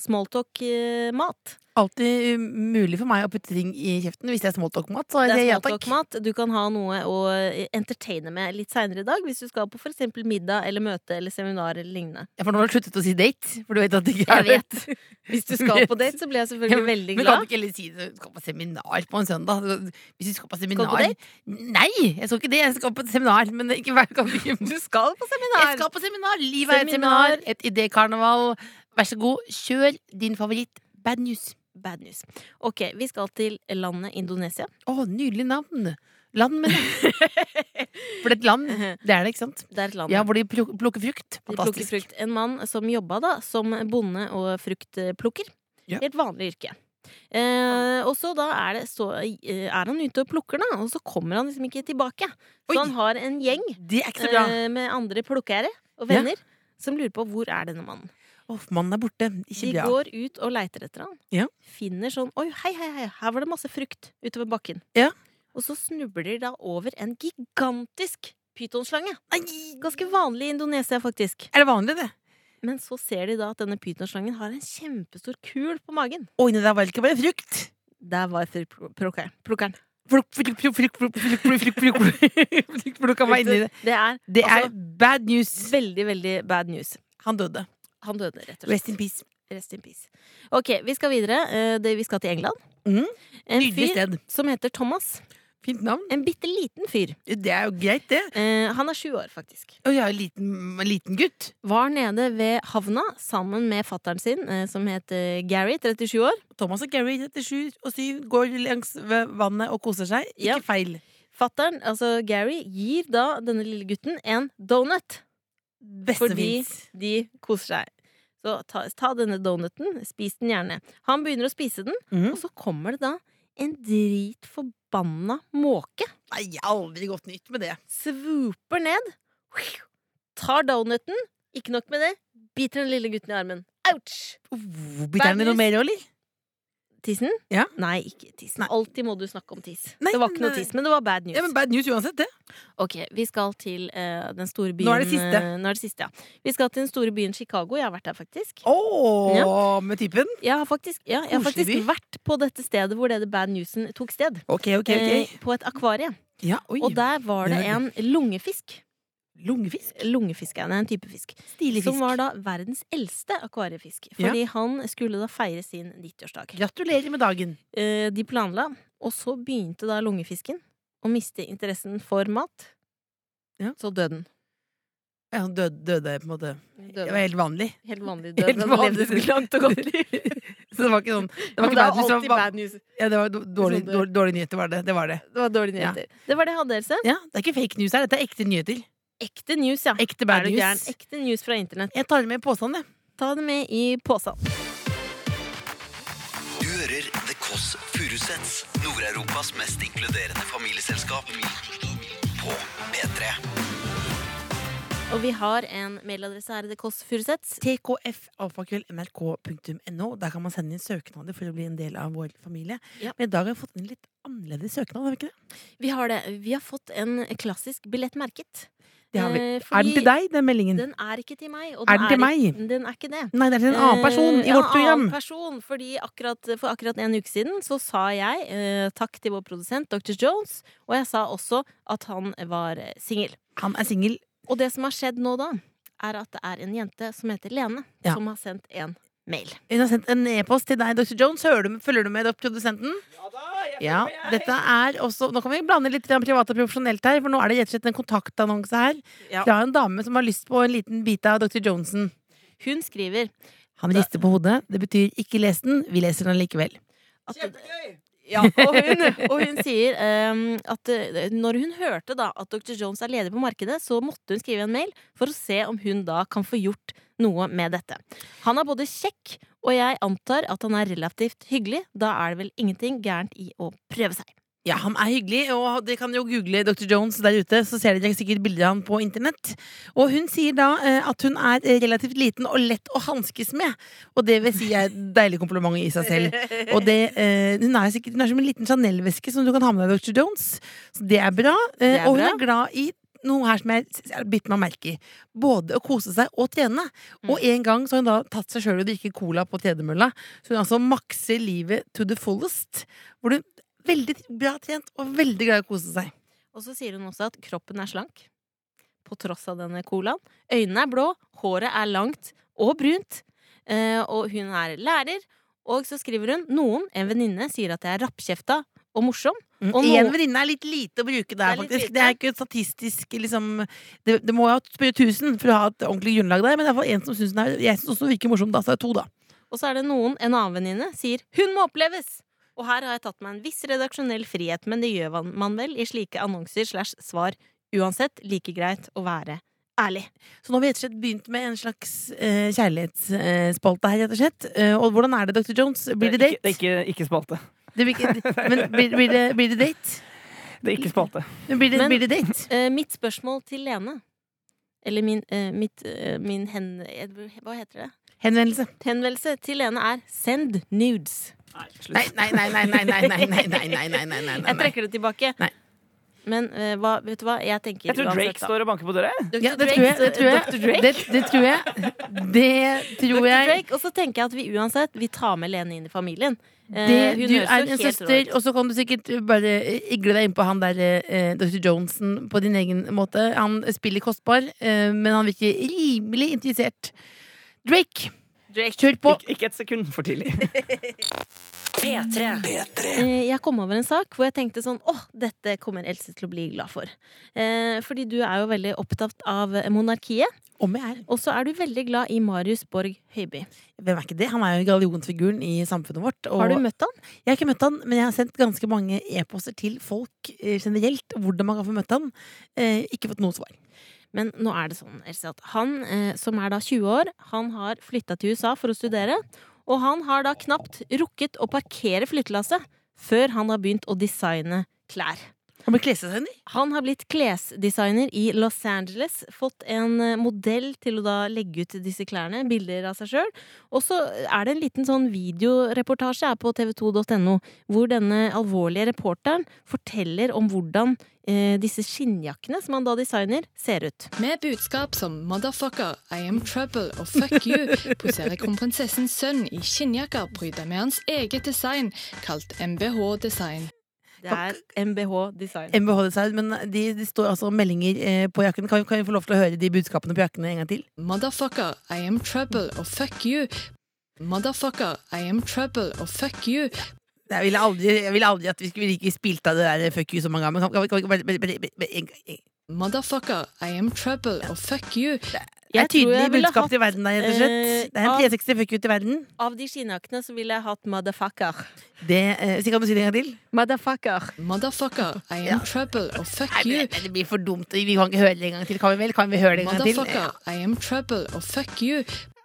smalltalk-mat?
Alltid um, mulig for meg å putte ting i kjeften hvis jeg er småtalk-mat. Så
Det
jeg
er
ja takk.
smalltalk-mat. Du kan ha noe å eh, entertaine med litt seinere i dag, hvis du skal på for eksempel middag eller møte eller seminar eller lignende.
Ja, for nå har du sluttet å si date, for du vet at det ikke
Jeg
er
vet.
det.
Hvis du skal på date, så blir jeg selvfølgelig veldig
Men kan du
glad.
ikke heller si det? Du skal på seminar på en søndag. Hvis du skal på seminar
på date?
Nei, jeg skal ikke det. Jeg skal på seminar. Men ikke hver gang [laughs] du
Du skal på seminar!
Jeg skal på seminar! Livet er et
Seminar.
seminar. Et idékarneval. Vær så god, kjør din favoritt. Bad news.
Bad news. Ok, vi skal til landet Indonesia.
Å, nydelig navn. Land med navn. [laughs] For det er et land. Det er det, ikke sant?
Det er et land.
Ja, hvor de pluk- plukker frukt.
De plukker
Fantastisk.
frukt. En mann som jobba da som bonde og fruktplukker.
Ja.
Helt vanlig yrke. Eh, og så da er, det så eh, er han ute og plukker, da, og så kommer han liksom ikke tilbake. Så
Oi.
han har en gjeng
Det er ikke så bra.
eh, med andre plukkere og venner som lurer på hvor er denne mannen.
Åh, mannen er borte. Ikke
De
bra.
går ut og leiter etter han.
Ja.
Finner sånn Oi, hei, hei, hei, her var det masse frukt utover bakken.
Ja.
Og så snubler de da over en gigantisk pytonslange.
Nei,
Ganske vanlig i Indonesia, faktisk.
er det vanlig, det?
Men så ser de da at denne pytonslangen har en kjempestor kul på magen.
Oi, det der var ikke bare frukt.
Der var fru- pro- plukker- plukkeren.
Plukka meg inn i det.
Det er
Det er
Altså,
bad news.
veldig, veldig bad news.
Han døde.
Han døde, rett og slett.
Rest in peace.
Rest in peace. Ok, vi skal videre. Eh, det- Vi skal til England.
Mhm.
En
Nydelig
fyr
sted.
som heter Thomas.
Fint navn.
En bitte liten fyr.
Det er jo greit, det.
Eh, han er sju år, faktisk.
Og jeg er jo liten, liten gutt.
Var nede ved havna sammen med fatteren sin, eh, som het eh, Gary, 37 år.
Thomas og Gary 37 og 7 går langs ved vannet og koser seg. Ikke
Ja.
feil.
Fatteren, altså Gary, gir da denne lille gutten en donut.
Beste
Fordi
fins.
de koser seg. Så ta, ta denne donuten, spis den gjerne. Han begynner å spise den,
Mm.
og så kommer det da en dritforbanna måke.
Nei, jeg har aldri gått nytt med det.
Svooper ned, tar donuten, ikke nok med det, biter den lille gutten i armen. Ouch!
Oh, Biter han i
Verdens-
noe mer, eller?
Tissen?
Ja.
Nei, ikke tissen.
Nei.
Alltid må du snakke om tiss.
Nei,
det var ikke
men,
noe tiss, men det var bad news.
Ja, men Bad news uansett, det.
Ok, vi skal til eh, den store byen
Nå er det siste.
eh, nå er det siste, ja. Vi skal til den store byen Chicago. Jeg har vært der, faktisk.
Å, med typen.
Jeg har faktisk, ja, jeg har
Koselig
faktisk vært på dette stedet hvor denne bad newsen tok sted.
Ok, ok, ok.
Eh, på et akvarie.
ja, oi.
Og der var det
Det er-
en lungefisk.
Lungefisk.
Lungefisk er en type fisk.
Stilig fisk.
Som var da verdens eldste akvariefisk. Fordi han skulle da feire sin 90-årsdag.
Gratulerer med dagen.
Eh, de planla, og så begynte da lungefisken å miste interessen for mat.
Ja.
Så døde den.
Ja, han døde, døde på en måte. Det var
Døde.
helt vanlig. [laughs]
Helt vanlig død.
Helt
Den
vanlig.
levde et langt og godt
[laughs]
liv.
Så det var ikke sånn Det
Men
var ikke
det
bad
er
news. Det
alltid
var,
bad news.
ja, det var dårlig, dårlig,
Sånn
dårlig, dårlig nyheter, var det. Det var det.
Det var dårlige
Ja.
nyheter. Det var det jeg hadde, Else.
Ja, det er ikke fake news her. Dette er ekte nyheter.
Ekte news, ja.
Ekte
Er
bad
du gæren?
news.
Ekte news fra internett.
Jeg tar med påstanden, jeg.
Ta det med i posen.
Du hører The Kåss Furuseths, Nord-Europas mest inkluderende familieselskap på P3.
Og vi har en mailadresse her i Det Kåss Furuseths.
tkfalfakrøllnrk.no. Der kan man sende inn søknader for å bli en del av vår familie.
Ja.
Men i dag har jeg fått en litt annerledes søknad. Har vi ikke det?
Vi har det. Vi har fått en klassisk billett merket.
det har vi.
Eh,
Er den
fordi
til deg, den meldingen?
Den er ikke til meg. Og
Er den til
ikke- Den er ikke det.
Nei, det er til en annen person
Eh,
i vårt
Ja, en
program.
annen person, fordi akkurat, for akkurat en uke siden så sa jeg eh, takk til vår produsent Dr. Jones, og jeg sa også at han var eh, singel.
Han er singel.
Og det som har skjedd nå da, er at det er en jente som heter Lene,
Ja.
som har sendt en mail.
Hun har sendt en e-post til deg, Dr. Jones. Hører du, følger du med produsenten? Ja, dette er også Nå kan vi blande litt grann privat og profesjonelt her, for nå er det rett og slett en kontaktannonse her
Ja.
fra en dame som har lyst på en liten bit av Dr. Johnsen.
Hun skriver
Han rister på hodet. Det betyr ikke les den. Vi leser den likevel.
at Ja, og hun, og hun sier ehm, at eh, når hun hørte da at Dr. Jones er ledig på markedet, så måtte hun skrive en mail for å se om hun da kan få gjort noe med dette. Han er både kjekk, og jeg antar at han er relativt hyggelig. Da er det vel ingenting gærent i å prøve seg.
Ja, han er hyggelig, og dere kan jo google Dr. Jones der ute, så ser dere sikkert bilder av han på internett. Og hun sier da eh, at hun er eh, relativt liten og lett å hanskes med, og det vil si er et deilig kompliment i seg selv. Og det, eh, hun, er sikkert, hun er som en liten Chanel-veske som du kan ha med deg, Dr. Jones. Så det er bra. Eh,
Det er
og hun
bra.
er glad i noe her som jeg s- har bitt meg merke i. Både å kose seg og trene.
Mm.
Og en gang så har hun da tatt seg sjøl i å drikke cola på tredemølla. Så hun altså makser livet to the fullest. Hvor hun Veldig bra trent og veldig glad i å kose seg.
Og så sier hun også at kroppen er slank, på tross av denne colaen. Øynene er blå, håret er langt og brunt, eh, og hun er lærer. Og så skriver hun noen, en venninne, sier at jeg er rappkjefta og morsom. Mm. Og nå-
Én venninne er litt lite å bruke
Det er
der,
litt
faktisk.
lite.
Det er ikke et statistisk liksom, det, det må jo spørre tusen for å ha et ordentlig grunnlag der, men det er i hvert fall en som syns den er Jeg syns også den virker morsom, da. Så er det to, da.
Og så er det noen, en annen venninne, sier 'hun må oppleves'. Og her har jeg tatt meg en viss redaksjonell frihet, men det gjør man- man vel i slike annonser slash svar. Uansett, like greit å være ærlig.
Så nå har vi rett og slett begynt med en slags eh, kjærlighetsspalte her, rett og slett. Eh, og hvordan er det, Dr. Jones? Blir det
Ikke, det
date?
er ikke, ikke spalte.
Det blir ikke,
[laughs]
men blir, blir, det, blir det date?
Det er ikke spalte.
Men blir, det,
Men-
blir det date?
Eh, mitt spørsmål til Lene Eller min, eh, mitt, eh, min hen... eh, Hva heter det?
Henvendelse.
Henvendelse til Lene er 'send nudes'.
Nei, nei, nei, nei, nei, nei, nei, nei, nei, nei, nei, nei, nei,
Jeg
nei.
trekker det tilbake.
Nei.
Men eh, hva, vet du hva? Jeg tenker
Jeg tror Drake
uansett, da.
står og banker på døra. jeg.
Dr.
Ja, det
Drake,
tror jeg. Det tror
Dr. Drake?
jeg. Det, det tror jeg. Det tror
Dr.
jeg.
Drake, og så tenker jeg at vi uansett Vi tar med Lene inn i familien. Eh,
Det,
hun
du
høres
er
jo helt
en
rå liksom. ut.
søster, og så kan du sikkert bare eh, igle deg innpå han der eh, Dr. Johnson på din egen måte. Han spiller kostbar, eh, men han virker rimelig interessert. Drake,
Drake.
kjør på!
Ikke, ikke et sekund for tidlig.
P3.
Eh, Jeg kom over en sak hvor jeg tenkte sånn Åh, dette kommer Else til å bli glad for. Eh, fordi du er jo veldig opptatt av monarkiet.
Om jeg er.
Og så er du veldig glad i Marius Borg Høiby.
Hvem er ikke det? Han er jo gallionsfiguren i samfunnet vårt. og-
Har du møtt han?
Jeg har ikke møtt han, men jeg har sendt ganske mange e-poster til folk eh, generelt hvordan man kan få møtt han. Eh, ikke fått noe svar.
Men nå er det sånn, Else, at han eh, som er da 20 år, han har flytta til USA for å studere. Og han har da knapt rukket å parkere flyttelasset før han har begynt å designe klær.
Han blir klesdesigner.
Han har blitt klesdesigner i Los Angeles. Fått en eh, modell til å da legge ut disse klærne. Bilder av seg sjøl. Og så er det en liten sånn videoreportasje her på tv2.no hvor denne alvorlige reporteren forteller om hvordan eh, disse skinnjakkene som han da designer, ser ut.
Med budskap som 'motherfucker', 'I am trouble' og 'fuck
[laughs]
you' poserer kronprinsessens sønn i skinnjakker pryda med hans eget design, kalt MBH Design.
Det er MBH Design.
MBH Design, men de, de står altså meldinger eh, på jakken. Kan, kan vi få lov til å høre de budskapene på jakkene en gang til?
'Motherfucker', 'I am trouble' og 'fuck you'. 'Motherfucker', 'I am trouble' og 'fuck you'
Jeg ville aldri, jeg ville aldri at vi skulle ikke spilt av det der eh, fuck you så mange ganger. Men kan, kan, kan, kan, bare- bare- bare- bare- en gang- en-
Motherfucker, I am trouble og fuck you.
det er
Jeg tror jeg ville
tydelig budskap
hatt,
til verden der, rett og
eh,
slett. Det er en
av-
360 fuck you til verden.
Av de skinnjakkene så ville jeg hatt motherfucker.
Det, eh, så kan du si det en gang til?
Motherfucker.
Motherfucker, I am trouble og fuck
Nei,
you.
men det blir for dumt. Vi kan ikke høre det en gang til. Kan vi vel? Kan vi høre det en gang til?
Motherfucker, I am trouble og fuck you.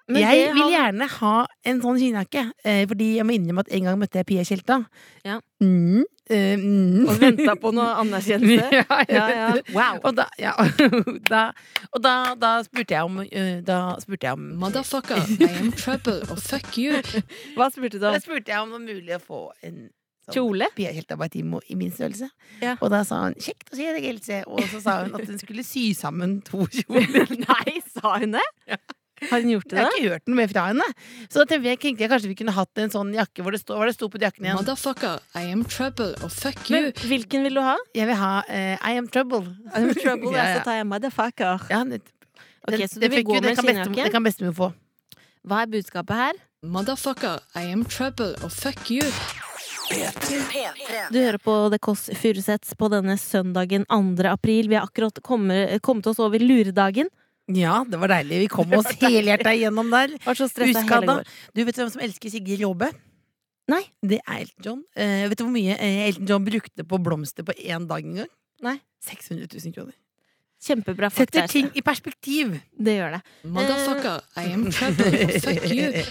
Men
Eh, jeg
det
vil
han-
gjerne ha en sånn skinnjakke, eh, fordi jeg må innrømme at en gang møtte jeg Pia Tjelta.
Ja.
Mm, eh, mm.
Og venta på noe anerkjennelse.
[laughs] Ja, jeg
[laughs] Ja, ja.
vet det.
Wow.
Og da, ja, [laughs] da, og da, da spurte jeg om eh, Da spurte jeg om
Motherfucker, I
[laughs]
am trouble og fuck you.
Hva spurte du
Da
om?
spurte jeg om det var mulig å få en sånn
Kjole?
Pia Tjelta Bartimo i min størrelse.
Ja.
Og da sa hun 'kjekt å se deg, Else'. Og så sa hun at hun skulle sy sammen to kjoler.
[laughs] Nei, sa hun det? Har hun gjort det?
Jeg har ikke hørt noe mer fra henne. Så da tenkte jeg, tenkte jeg kanskje vi kunne hatt en sånn jakke hvor det sto, hva det sto på jakken igjen.
Motherfucker, I am trouble og fuck
Men
you.
hvilken vil du ha?
Jeg vil ha eh, I am trouble.
I'm in trouble,
[laughs] ja,
ja, så
ja.
tar jeg motherfucker.
ja, nettopp.
Ok,
Den-
så du
det
vil
fikk
gå
jo-
med
det kan bestemor-
skinnjakke?
Det kan bestemor få.
Hva er budskapet her?
Motherfucker, I am trouble og fuck you.
Du hører på The Kåss Furuseths på denne søndagen 2. april. Vi har akkurat kommet, kommet oss over luredagen.
Ja, det var deilig. Vi kom [laughs] oss helhjerta igjennom der.
Var så stressa
Huska
hele
da.
går.
Du Vet du hvem som elsker Sigrid Råbe?
Nei.
Det er Elton John. Eh, vet du hvor mye eh, Elton John brukte på blomster på én dag en gang?
Nei.
600 000 kroner.
Kjempebra fakta.
Setter ting i [laughs] perspektiv.
Det gjør det.
Motherfucker, I
Uh.
am trouble og fuck you.
[laughs]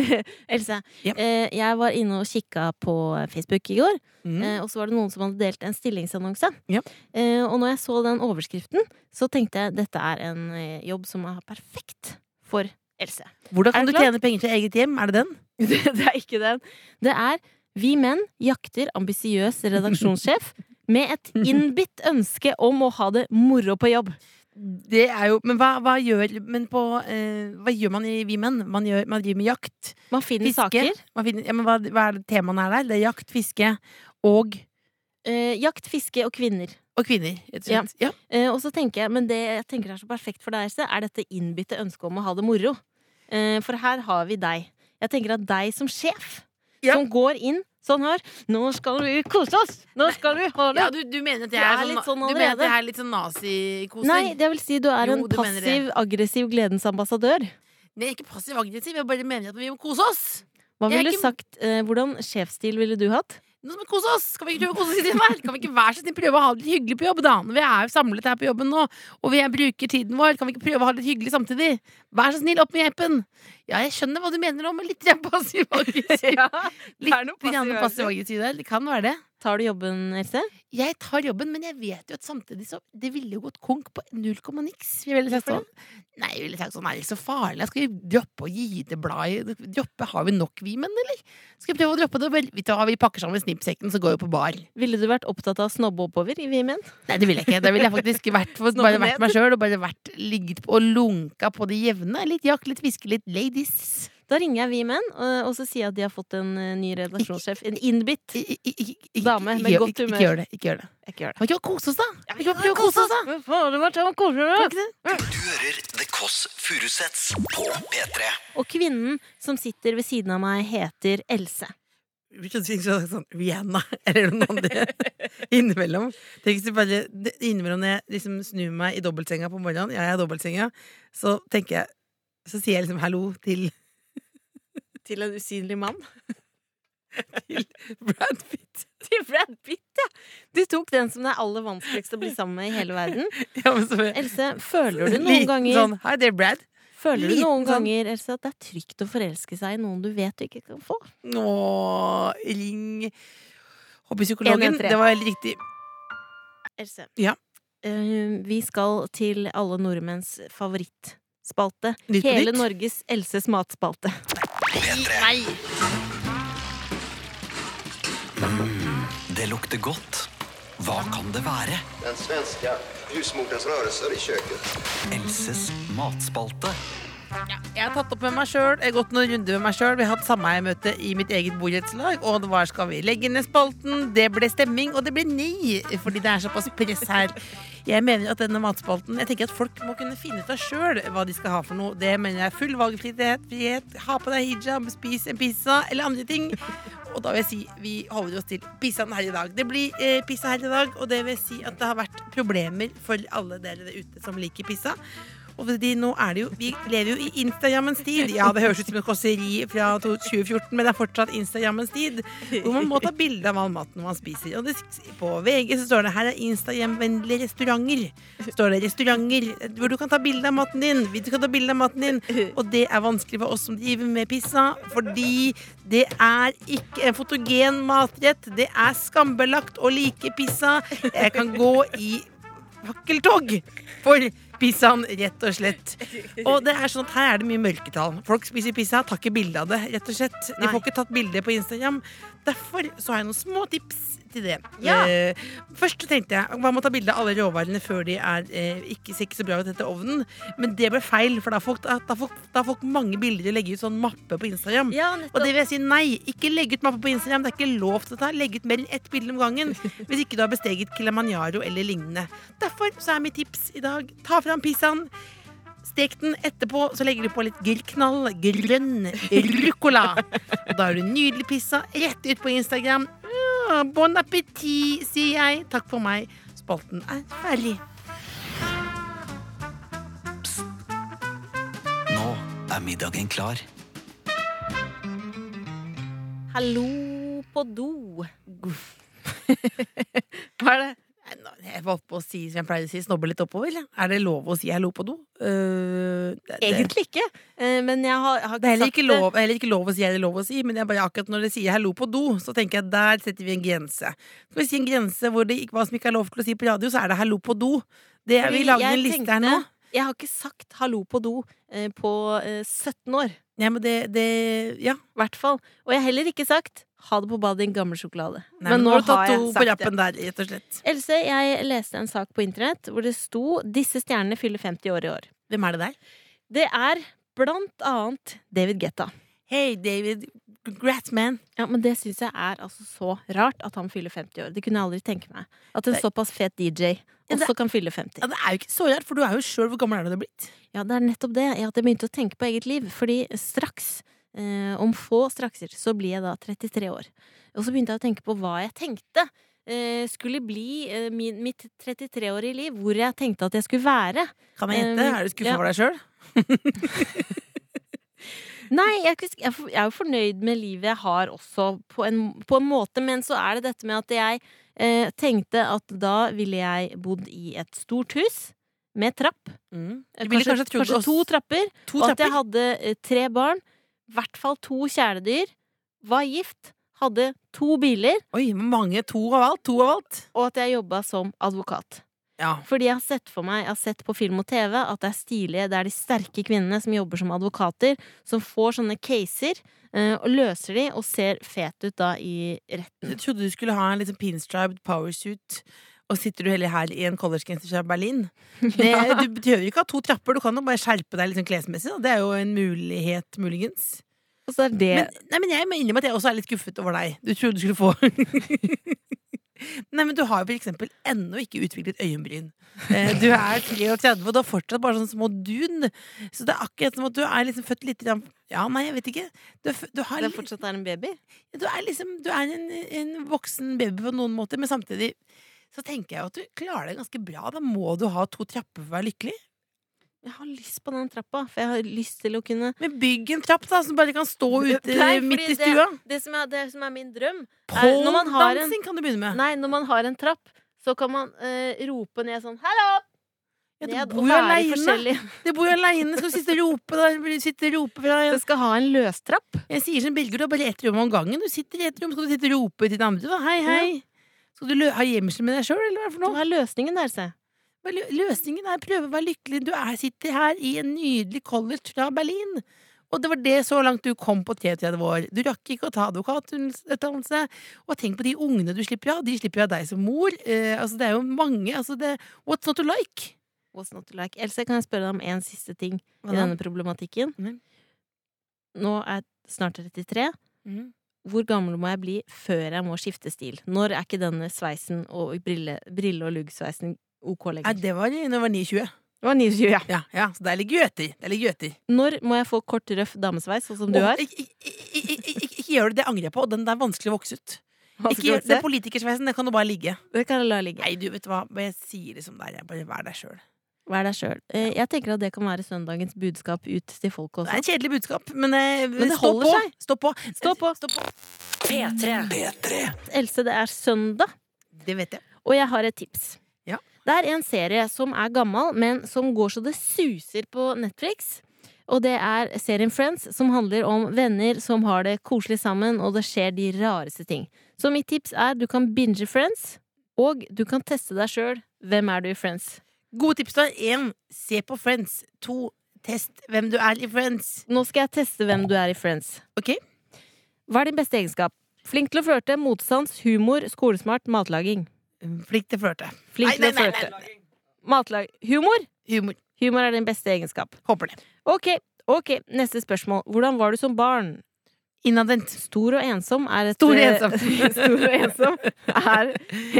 [laughs] Else,
Ja.
eh, jeg var inne og kikka på Facebook i går.
Mm.
Eh, og så var det noen som hadde delt en stillingsannonse.
Ja.
Eh, og når jeg så den overskriften, så tenkte jeg dette er en eh, jobb som er perfekt for Else. [laughs]
Hvordan
er
kan
det
du
klart?
tjene penger til eget hjem? Er det den?
det, det er ikke den. Det er Vi menn jakter ambisiøs redaksjonssjef med
[laughs]
et innbitt ønske om å ha det moro på jobb.
Det er jo, men hva, hva, gjør, men på, eh, hva gjør man i Vi menn? Man, gjør, man driver med jakt.
Man finner
Fiske.
saker.
Man finner, ja, men hva, hva er det temaene er der? Det er jakt, fiske og,
Eh, jakt, fiske og kvinner.
og kvinner. rett og slett. Ja.
Eh, og så tenker jeg, men det jeg tenker er så perfekt for deg, Else, er dette innbitte ønsket om å ha det moro. Eh, for her har vi deg. Jeg tenker at deg som sjef,
Ja.
som går inn sånn her Nå skal vi kose oss! Nå skal vi ha det!
Ja, du, du mener at jeg
Du
er,
er litt sånn
sånn, du mener at
allerede.
jeg er litt sånn nazikosing?
Nei, det vil si du er
Jo,
en
du mener det.
passiv, aggressiv gledens ambassadør.
Nei, ikke passiv aggressiv, jeg bare mener at vi må kose oss.
Hva
Jeg er
ville du
ikke-
sagt, eh, Hvordan sjefsstil ville du hatt?
Nå skal vi kose oss! Kan vi ikke prøve å kose oss litt mer? Kan vi ikke være så snill prøve å ha det litt hyggelig på jobb, da? Når vi er jo samlet her på jobben nå, og vi er- bruker tiden vår, kan vi ikke prøve å ha det litt hyggelig samtidig? Vær så snill, opp med appen! Ja, jeg skjønner hva du mener om litt grann passiv [laughs] aggressiv. Litt grann passiv aggressiv der, det kan være det.
Tar du jobben, Else?
Jeg tar jobben, men jeg vet jo at samtidig så Det ville jo gått konk på null komma niks. Jeg ville sagt
Hvorfor
sånn Nei, jeg ville sagt sånn, er det så farlig? Jeg skal vi droppe å gi det bladet? Droppe, har vi nok vi menn, eller? Skal vi prøve å droppe det? Vel, vet du hva, vi pakker sammen snippsekken, så går vi på bar.
Ville du vært opptatt av å snobbe oppover i Vi menn?
Nei, det ville jeg ikke. Da ville jeg faktisk vært, for, bare vært meg sjøl og bare vært, ligget på og lunka på det jevne. Litt jakt, litt fiske, litt ladies.
Da ringer jeg Vi Menn, eh, og, og så sier jeg at de har fått en eh, ny redaksjonssjef. En innbitt.
I- i- i- i-
Dame
ikke
med
gjør-
godt
ikke-
humør.
Ikke gjør det. ikke gjør det
Jeg gjør det.
Kan ikke vi kose oss, da? Kan ikke vi
Kos
kose
oss,
oss, da?
da! Fader, Martha, kos dere!
Du hører The Kåss Furuseths på P3.
Og kvinnen som sitter ved siden av meg, heter Else.
Vi kan si sånn Vienna, [laughs] eller noe annet innimellom. Tenk hvis det bare, det- innimellom når jeg liksom snur meg i dobbeltsenga på morgenen, jeg er i dobbeltsenga, så tenker jeg Så sier jeg liksom hallo til,
[laughs] Til en usynlig mann.
til Brad
[laughs]
Pitt.
Til Brad Pitt, ja! Du tok den som det er aller vanskeligst å bli sammen med i hele verden.
[laughs] Ja, men så,
Else, føler du noen
Liten
ganger
Sånn, Hei, det er Brad.
Føler du
liten
noen
sånn-
ganger Else, at det er trygt å forelske seg i noen du vet du ikke kan få?
Nå, ring hobbypsykologen.
113.
Det var helt riktig.
Else,
Ja.
eh, vi skal til alle nordmenns favorittspalte.
Nytt på
Hele
nytt.
Norges Elses matspalte.
Det lukter godt. Hva kan det være?
den svenska husmorens rörelser i köket.
Elses matspalte.
Jeg har tatt opp med meg selv, jeg har gått noen runder med meg sjøl. Vi har hatt sameiemøte i mitt eget borettslag. Og det var skal vi legge ned spalten? Det ble stemming, og det ble nei, fordi det er såpass press her. Jeg mener at denne matspalten Jeg tenker at folk må kunne finne ut av sjøl hva de skal ha for noe. Det mener jeg er full valgfrihet, frihet, ha på deg hijab, spis en pizza eller andre ting. Og da vil jeg si vi holder oss til pizzaen her i dag. Det blir eh, pizza her i dag, og det vil si at det har vært problemer for alle dere der ute som liker pizza. Og fordi nå er det jo, Vi lever jo i Instagrammens tid. Ja, det høres ut som et kåseri fra to- 2014, men det er fortsatt Instagrammens tid. Hvor man må ta bilde av all maten man spiser. Og det, på VG så står det 'Her er Instagram-vennlige restauranter'. Står det 'Restauranter hvor du kan ta bilde av maten din'. Du kan ta bilde av maten din. Og det er vanskelig for oss som driver med pizza, fordi det er ikke en fotogen matrett. Det er skambelagt å like pizza. Jeg kan gå i fakkeltog for pizzaen, rett og slett. Og det er sånn at her er det mye mørketall. Folk spiser pizza, tar ikke bilde av det, rett og slett. De får ikke tatt bilde på Instagram. Derfor så har jeg noen små tips til det.
Ja.
Eh, først tenkte jeg hva med å ta bilde av alle råvarene før de er, eh, ikke ser ikke så bra ut etter ovnen. Men det ble feil, for da har folk, da har folk, da har folk mange bilder å legge ut sånn mappe på Instagram.
[laughs] Ja,
Og det vil jeg si nei. Ikke legg ut mappe på Instagram. Det er ikke lov til dette. Legg ut mer enn ett bilde om gangen hvis ikke du har besteget Kilimanjaro eller lignende. Derfor så er mitt tips i dag ta fram pizzaen. Stek den etterpå, så legger du på litt grillknall, grønn ruccola. Og da har du nydelig pizza rett ut på Instagram. Ja, Bon appétit, sier jeg. Takk for meg. Spalten er ferdig.
Nå er middagen klar.
Hallo på do.
Hva er det? Nei, nå- Jeg valgte på å si som jeg pleier å si, snobbe litt oppover. eller? Er det lov å si hallo på do? Eh, det- det-
Egentlig ikke, eh, men jeg har, jeg har
Det er heller
sagt
ikke lov, det er heller ikke lov å si er det lov å si, men jeg bare akkurat når de sier hallo på do, så tenker jeg der setter vi en grense. Skal vi si en grense hvor det ikke, hva som ikke er lov til å si på radio, så er det hallo på do. Det er, vi
Fordi
lager
jeg
en liste her nå.
tenkte- Jeg har ikke sagt hallo på do eh, på eh, 17 år.
Nei, men det, det Ja.
I hvert fall. Og jeg har heller ikke sagt ha det på badet, din gamle sjokolade.
Nei, men, nå har du tatt to på
det.
rappen der, rett og slett.
Else, jeg leste en sak på internett hvor det sto 'Disse stjernene fyller 50 år i år'.
Hvem er det der?
Det er blant annet David Getta.
Hei, David. Congrats, man.
Ja, men det syns jeg er altså så rart at han fyller 50 år. Det kunne jeg aldri tenke meg. At en
Nei.
såpass fet DJ
Ja, det-
også kan fylle 50.
Ja, det er jo ikke så rart, for du er jo sjøl Hvor gammel er du det blitt?
Ja, det er nettopp det. Jeg hadde begynt å tenke på eget liv. Fordi straks, eh, om få strakser, så blir jeg da 33 år. Og så begynte jeg å tenke på hva jeg tenkte eh, skulle bli eh, min, mitt 33-årige liv. Hvor jeg tenkte at jeg skulle være.
Kan jeg gjette?
Eh,
Er du skuffa
ja.
over deg sjøl?
Nei, jeg, er ikke- jeg er for- jeg er jo fornøyd med livet jeg har også, på en, på en måte. Men så er det dette med at jeg eh, tenkte at da ville jeg bodd i et stort hus med trapp.
Du ville kanskje, trodd
kanskje
oss-
to trapper.
Mm. to
og at jeg
trapper.
hadde eh, tre barn, i hvert fall to kjæledyr, var gift, hadde to biler,
Oi, mange. To av alt. To av alt.
og at jeg jobba som advokat.
Ja.
Fordi jeg har sett for meg, jeg har sett på film og TV, at det er stilige, det er de sterke kvinnene som jobber som advokater, som får sånne caser, eh, og løser de, og ser fet ut da i
[laughs]
retten.
Jeg trodde du skulle ha en liksom pinstriped powersuit, og sitter du heller her i en collegegenser fra
[laughs]
Berlin. Det, sånn du behøver ikke ha to trapper, du kan jo bare skjerpe deg liksom klesmessig. Da. Det er jo en mulighet, muligens.
Og så er det
Men, nei, men jeg må innrømme at jeg også er litt skuffet over deg. Du trodde du skulle få [laughs] Nei, men du har jo for eksempel ennå ikke utviklet øyenbryn. Eh, Du er 33, og du har fortsatt bare sånne små dun. Så det er akkurat som at du er liksom født litt grann- Ja, nei, jeg vet ikke. Du, er fø- du, har,
det
litt-
fortsatt er en baby.
du er liksom Du er en, en voksen baby på noen måter, men samtidig så tenker jeg jo at du klarer deg ganske bra. Da må du ha to trapper for å være lykkelig.
Jeg har lyst på den trappa, for jeg har lyst til å kunne
Men bygg en trapp, da, som bare kan stå ute
Nei,
midt
fordi
i stua.
Det, det, som er, det som er min drøm er når man har en-
Pådansing kan du begynne med.
Nei, når man har en trapp, så kan man eh, rope ned sånn 'hallo!'
Ja,
Ned,
du bor
og
jo
være
alene. [laughs]
forskjellig.
Jeg bor jo aleine, skal du sitte og rope da? Blir du Sitte og rope fra
Det skal ha en løstrapp.
Jeg sier som Birger, du har bare ett rom om gangen. Du sitter i ett rom, skal du sitte og rope til den andre? da? Hei, hei. Skal du lø ha gjemsel med deg sjøl, eller hva er det for
Du
noe?
har løsningen der, se.
Hva er lø- Løsningen er å prøve å være lykkelig. Du er, sitter her i en nydelig college fra Berlin. Og det var det så langt du kom på 33 år. Du rakk ikke å ta advokatutdannelse. Og tenk på de ungene du slipper av. De slipper jo av deg som mor. Eh, altså, det er jo mange. Altså, det, what's not to like?
What's not to like? Else, kan jeg spørre deg om en siste ting i
da?
denne problematikken?
Mm.
Nå er jeg snart 33.
Mm.
Hvor gammel må jeg bli før jeg må skifte stil? Når er ikke denne sveisen og brille, brille- og luggsveisen ok
Nei,
lenger?
det var da jeg var 29.
Det var 29, ja.
Ja, ja, så der ligger jo etter. Der ligger jo etter.
Når må jeg få kort, røff damesveis, sånn som du
Åh,
har?
Ikke, ikke, ikke, ikke, ikke, ikke gjør det, det angrer jeg på. Og den der er vanskelig å vokse ut. Ikke gjør det
Det
politikersveisen, det kan du bare ligge.
kan jeg la ligge.
Nei, du vet hva, jeg sier det som det er. Jeg bare vær deg sjøl.
Vær deg sjøl. Jeg tenker at det kan være søndagens budskap ut til folk
Det er
også.
et kjedelig budskap, men, eh,
Men det
stå,
holder
på.
seg.
stå på.
Stå på.
P3.
Else, det er søndag.
Det vet jeg.
Og jeg har et tips.
Ja.
Det er en serie som er gammel, men som går så det suser på Netflix. Og det er serien Friends, som handler om venner som har det koselig sammen, og det skjer de rareste ting. Så mitt tips er du kan binge Friends, og du kan teste deg sjøl. Hvem er du i Friends?
Gode tips da. Én, se på Friends. To, test hvem du er i Friends.
Nå skal jeg teste hvem du er i Friends.
Ok.
Hva er din beste egenskap? Flink til å flørte, motstands, humor, skolesmart, matlaging.
Flink til å flørte.
Flink til
Nei,
å
nei, nei,
flørte. Matlag... Humor?
Humor.
Humor er din beste egenskap.
Håper det.
Ok, ok, neste spørsmål. Hvordan var du som barn?
Innadvendt.
Stor og ensom er et eh,
Stor og ensom.
[laughs] Stor og ensom er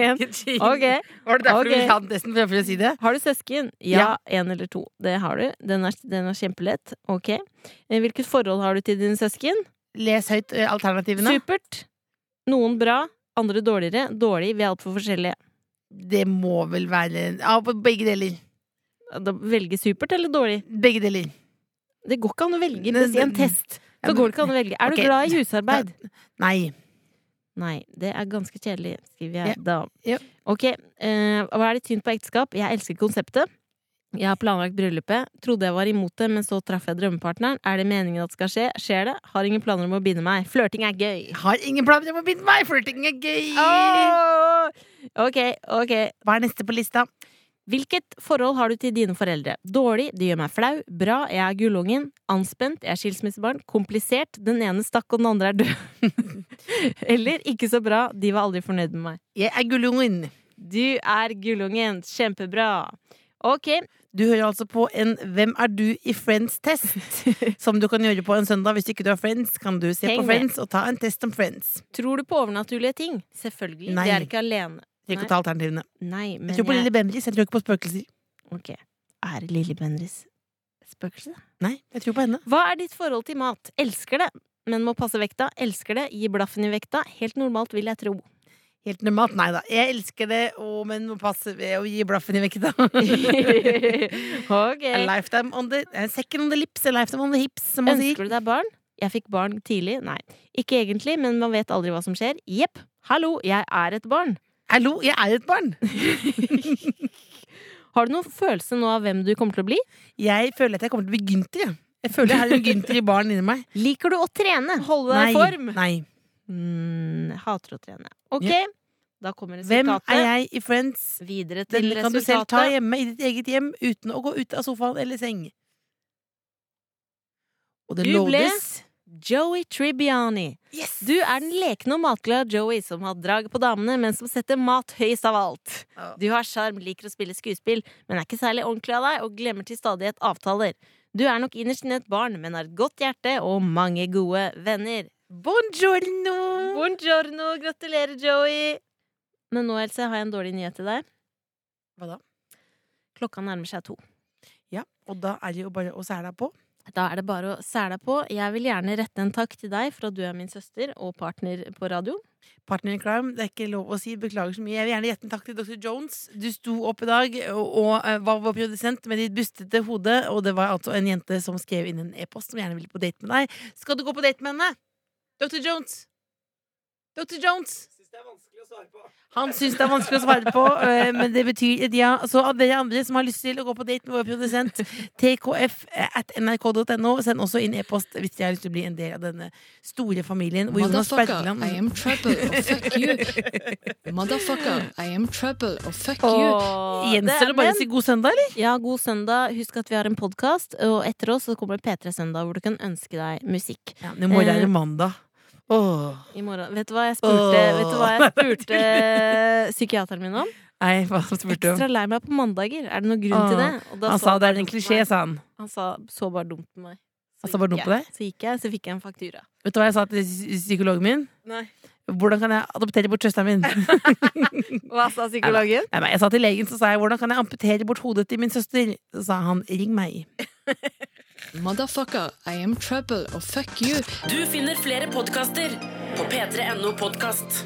en Ok.
[laughs] Var det derfor
Ok.
du ville ha den testen fremfor å si det?
Har du søsken? Ja, én eller to. Det har du. Den er, den er kjempelett. Ok. Eh, Hvilket forhold har du til dine søsken?
Les høyt eh, alternativene.
Supert. Noen bra, andre dårligere. Dårlig, vi er altfor forskjellige.
Det må vel være ja, Begge deler.
Da Velge supert eller dårlig?
Begge deler.
Det går ikke an å velge
Nei,
hvis i en
det-
test.
Ja,
Så
men-
går det ikke an å velge. Er du
Ok.
glad i husarbeid?
Nei.
Nei, det er ganske kjedelig, skriver jeg
Ja.
da.
Ja.
Ok, eh, hva er ditt syn på ekteskap? Jeg elsker konseptet. Jeg har planlagt bryllupet. Trodde jeg var imot det, men så traff jeg drømmepartneren. Er det meningen at det skal skje? Skjer det? Har ingen planer om å binde meg. Flørting er
[laughs]
gøy.
Har ingen planer om å binde meg! Flørting er gøy!
Åh! Ok, ok.
Hva er neste på lista?
Hvilket forhold har du til dine foreldre? Dårlig, det gjør meg flau. Bra, jeg er gullungen. Anspent, jeg er skilsmissebarn. Komplisert, den ene stakk og den andre er død. [laughs] Eller ikke så bra, de var aldri fornøyd med meg.
Jeg er gullungen.
Du er gullungen. Kjempebra. Ok.
Du hører altså på en Hvem er du i [laughs] Friends-test, som du kan gjøre på en søndag. Hvis ikke du har Friends, kan du se
Heng
på
med.
Friends og ta en test om Friends.
Tror du på overnaturlige ting? Selvfølgelig.
Nei.
Det er ikke alene.
Trekk
Nei.
og ta alternativene.
Nei, men
Jeg tror på Lille Bendriss, jeg tror ikke på spøkelser.
Ok. Er Lilly Bendriss spøkelse?
Nei, jeg tror på henne.
Hva er ditt forhold til mat? Elsker det, men må passe vekta. Elsker det, gi blaffen i vekta. Helt normalt, vil jeg
[laughs]
tro.
Helt normalt. Nei da. Jeg elsker det, å, men må passe ved å gi blaffen i vekta.
ok.
[laughs] A lifetime on the a Second on the lips, a lifetime on the hips, som man sier.
Ønsker du deg barn? Jeg fikk barn tidlig. Nei, ikke egentlig, men man vet aldri hva som skjer. Jepp. Hallo, jeg er et barn.
Hallo, jeg er et barn!
Har du noen følelse nå av hvem du kommer til å bli?
Jeg føler at jeg kommer til å bli Gynter, jeg. Jeg føler jeg har en Gynter i baren inni meg.
Liker du å trene? Holde deg i form?
nei.
Mm, jeg hater å trene. Ok,
Ja.
da kommer
Hvem
resultatet.
er jeg i Friends?
Videre til
Denne kan du selv
resultatet.
ta hjemme i ditt eget hjem uten å gå ut av sofaen eller seng. Og det
Du ble-
loades.
Joey Tribbiani.
Yes!
Du er den lekne og matglade Joey som har drag på damene, men som setter mat høyest av alt.
Ja.
Du har sjarm, liker å spille skuespill, men er ikke særlig ordentlig av deg og glemmer til stadighet avtaler. Du er nok innerst inne et barn, men har et godt hjerte og mange gode venner. Buongiorno! Buongiorno! Gratulerer, Joey! Men nå, Else, har jeg en dårlig nyhet til deg.
Hva da?
Klokka nærmer seg to.
Ja, og da er det jo bare å sæle deg på.
Da er det bare å sæle deg på. Jeg vil gjerne rette en takk til deg for at du er min søster og partner på radio.
Partner in crime, det er ikke lov å si. Beklager så mye. Jeg vil gjerne gjette en takk til Dr. Jones. Du sto opp i dag og, og eh, var vår produsent med ditt bustete hode. Og det var altså en jente som skrev inn en e-post som gjerne ville på date med deg. Skal du gå på date med henne? Dr. Jones! Dr. Jones! Han syns det er vanskelig å svare på, eh, men det betyr et ja. Så av dere andre som har lyst til å gå på date med vår produsent, tkf eh, at nrk.no, send også inn e-post hvis dere har lyst til å bli en del av denne store familien. Hvor Jonas
Motherfucker,
Bergland
I am trouble or fuck you. Motherfucker, I am trouble or fuck you.
Åh,
Gjenstår det bare å si god søndag, eller?
Ja, god søndag. Husk at vi har en podkast, og etter oss så kommer P3 Søndag, hvor du kan ønske deg musikk.
Ja, I morgen er det mandag. Åh.
I morgen. Vet du hva jeg spurte,
Åh.
vet du hva
[laughs]
jeg spurte psykiateren min om?
Nei, hva spurte du om?
Ekstra lei meg på mandager. Er det noen grunn til det? Og da
Han
så
sa det
bare
er en
dumt på
klisjé,
meg.
sa han.
Han sa så bare dumt på meg. Så
Han sa bare
gikk
dumt på
jeg. Så gikk jeg, så fikk jeg en faktura.
Vet du hva jeg sa til psy- psykologen min?
Nei.
Hvordan kan jeg adoptere bort søsteren min? Nei,
Hva sa
psykologen? nei, jeg sa til legen, så sa jeg hvordan kan jeg amputere bort hodet til min søster? Så sa han ring meg.
Motherfucker, I am trouble or fuck you.
Du finner flere podkaster på p3.no podkast.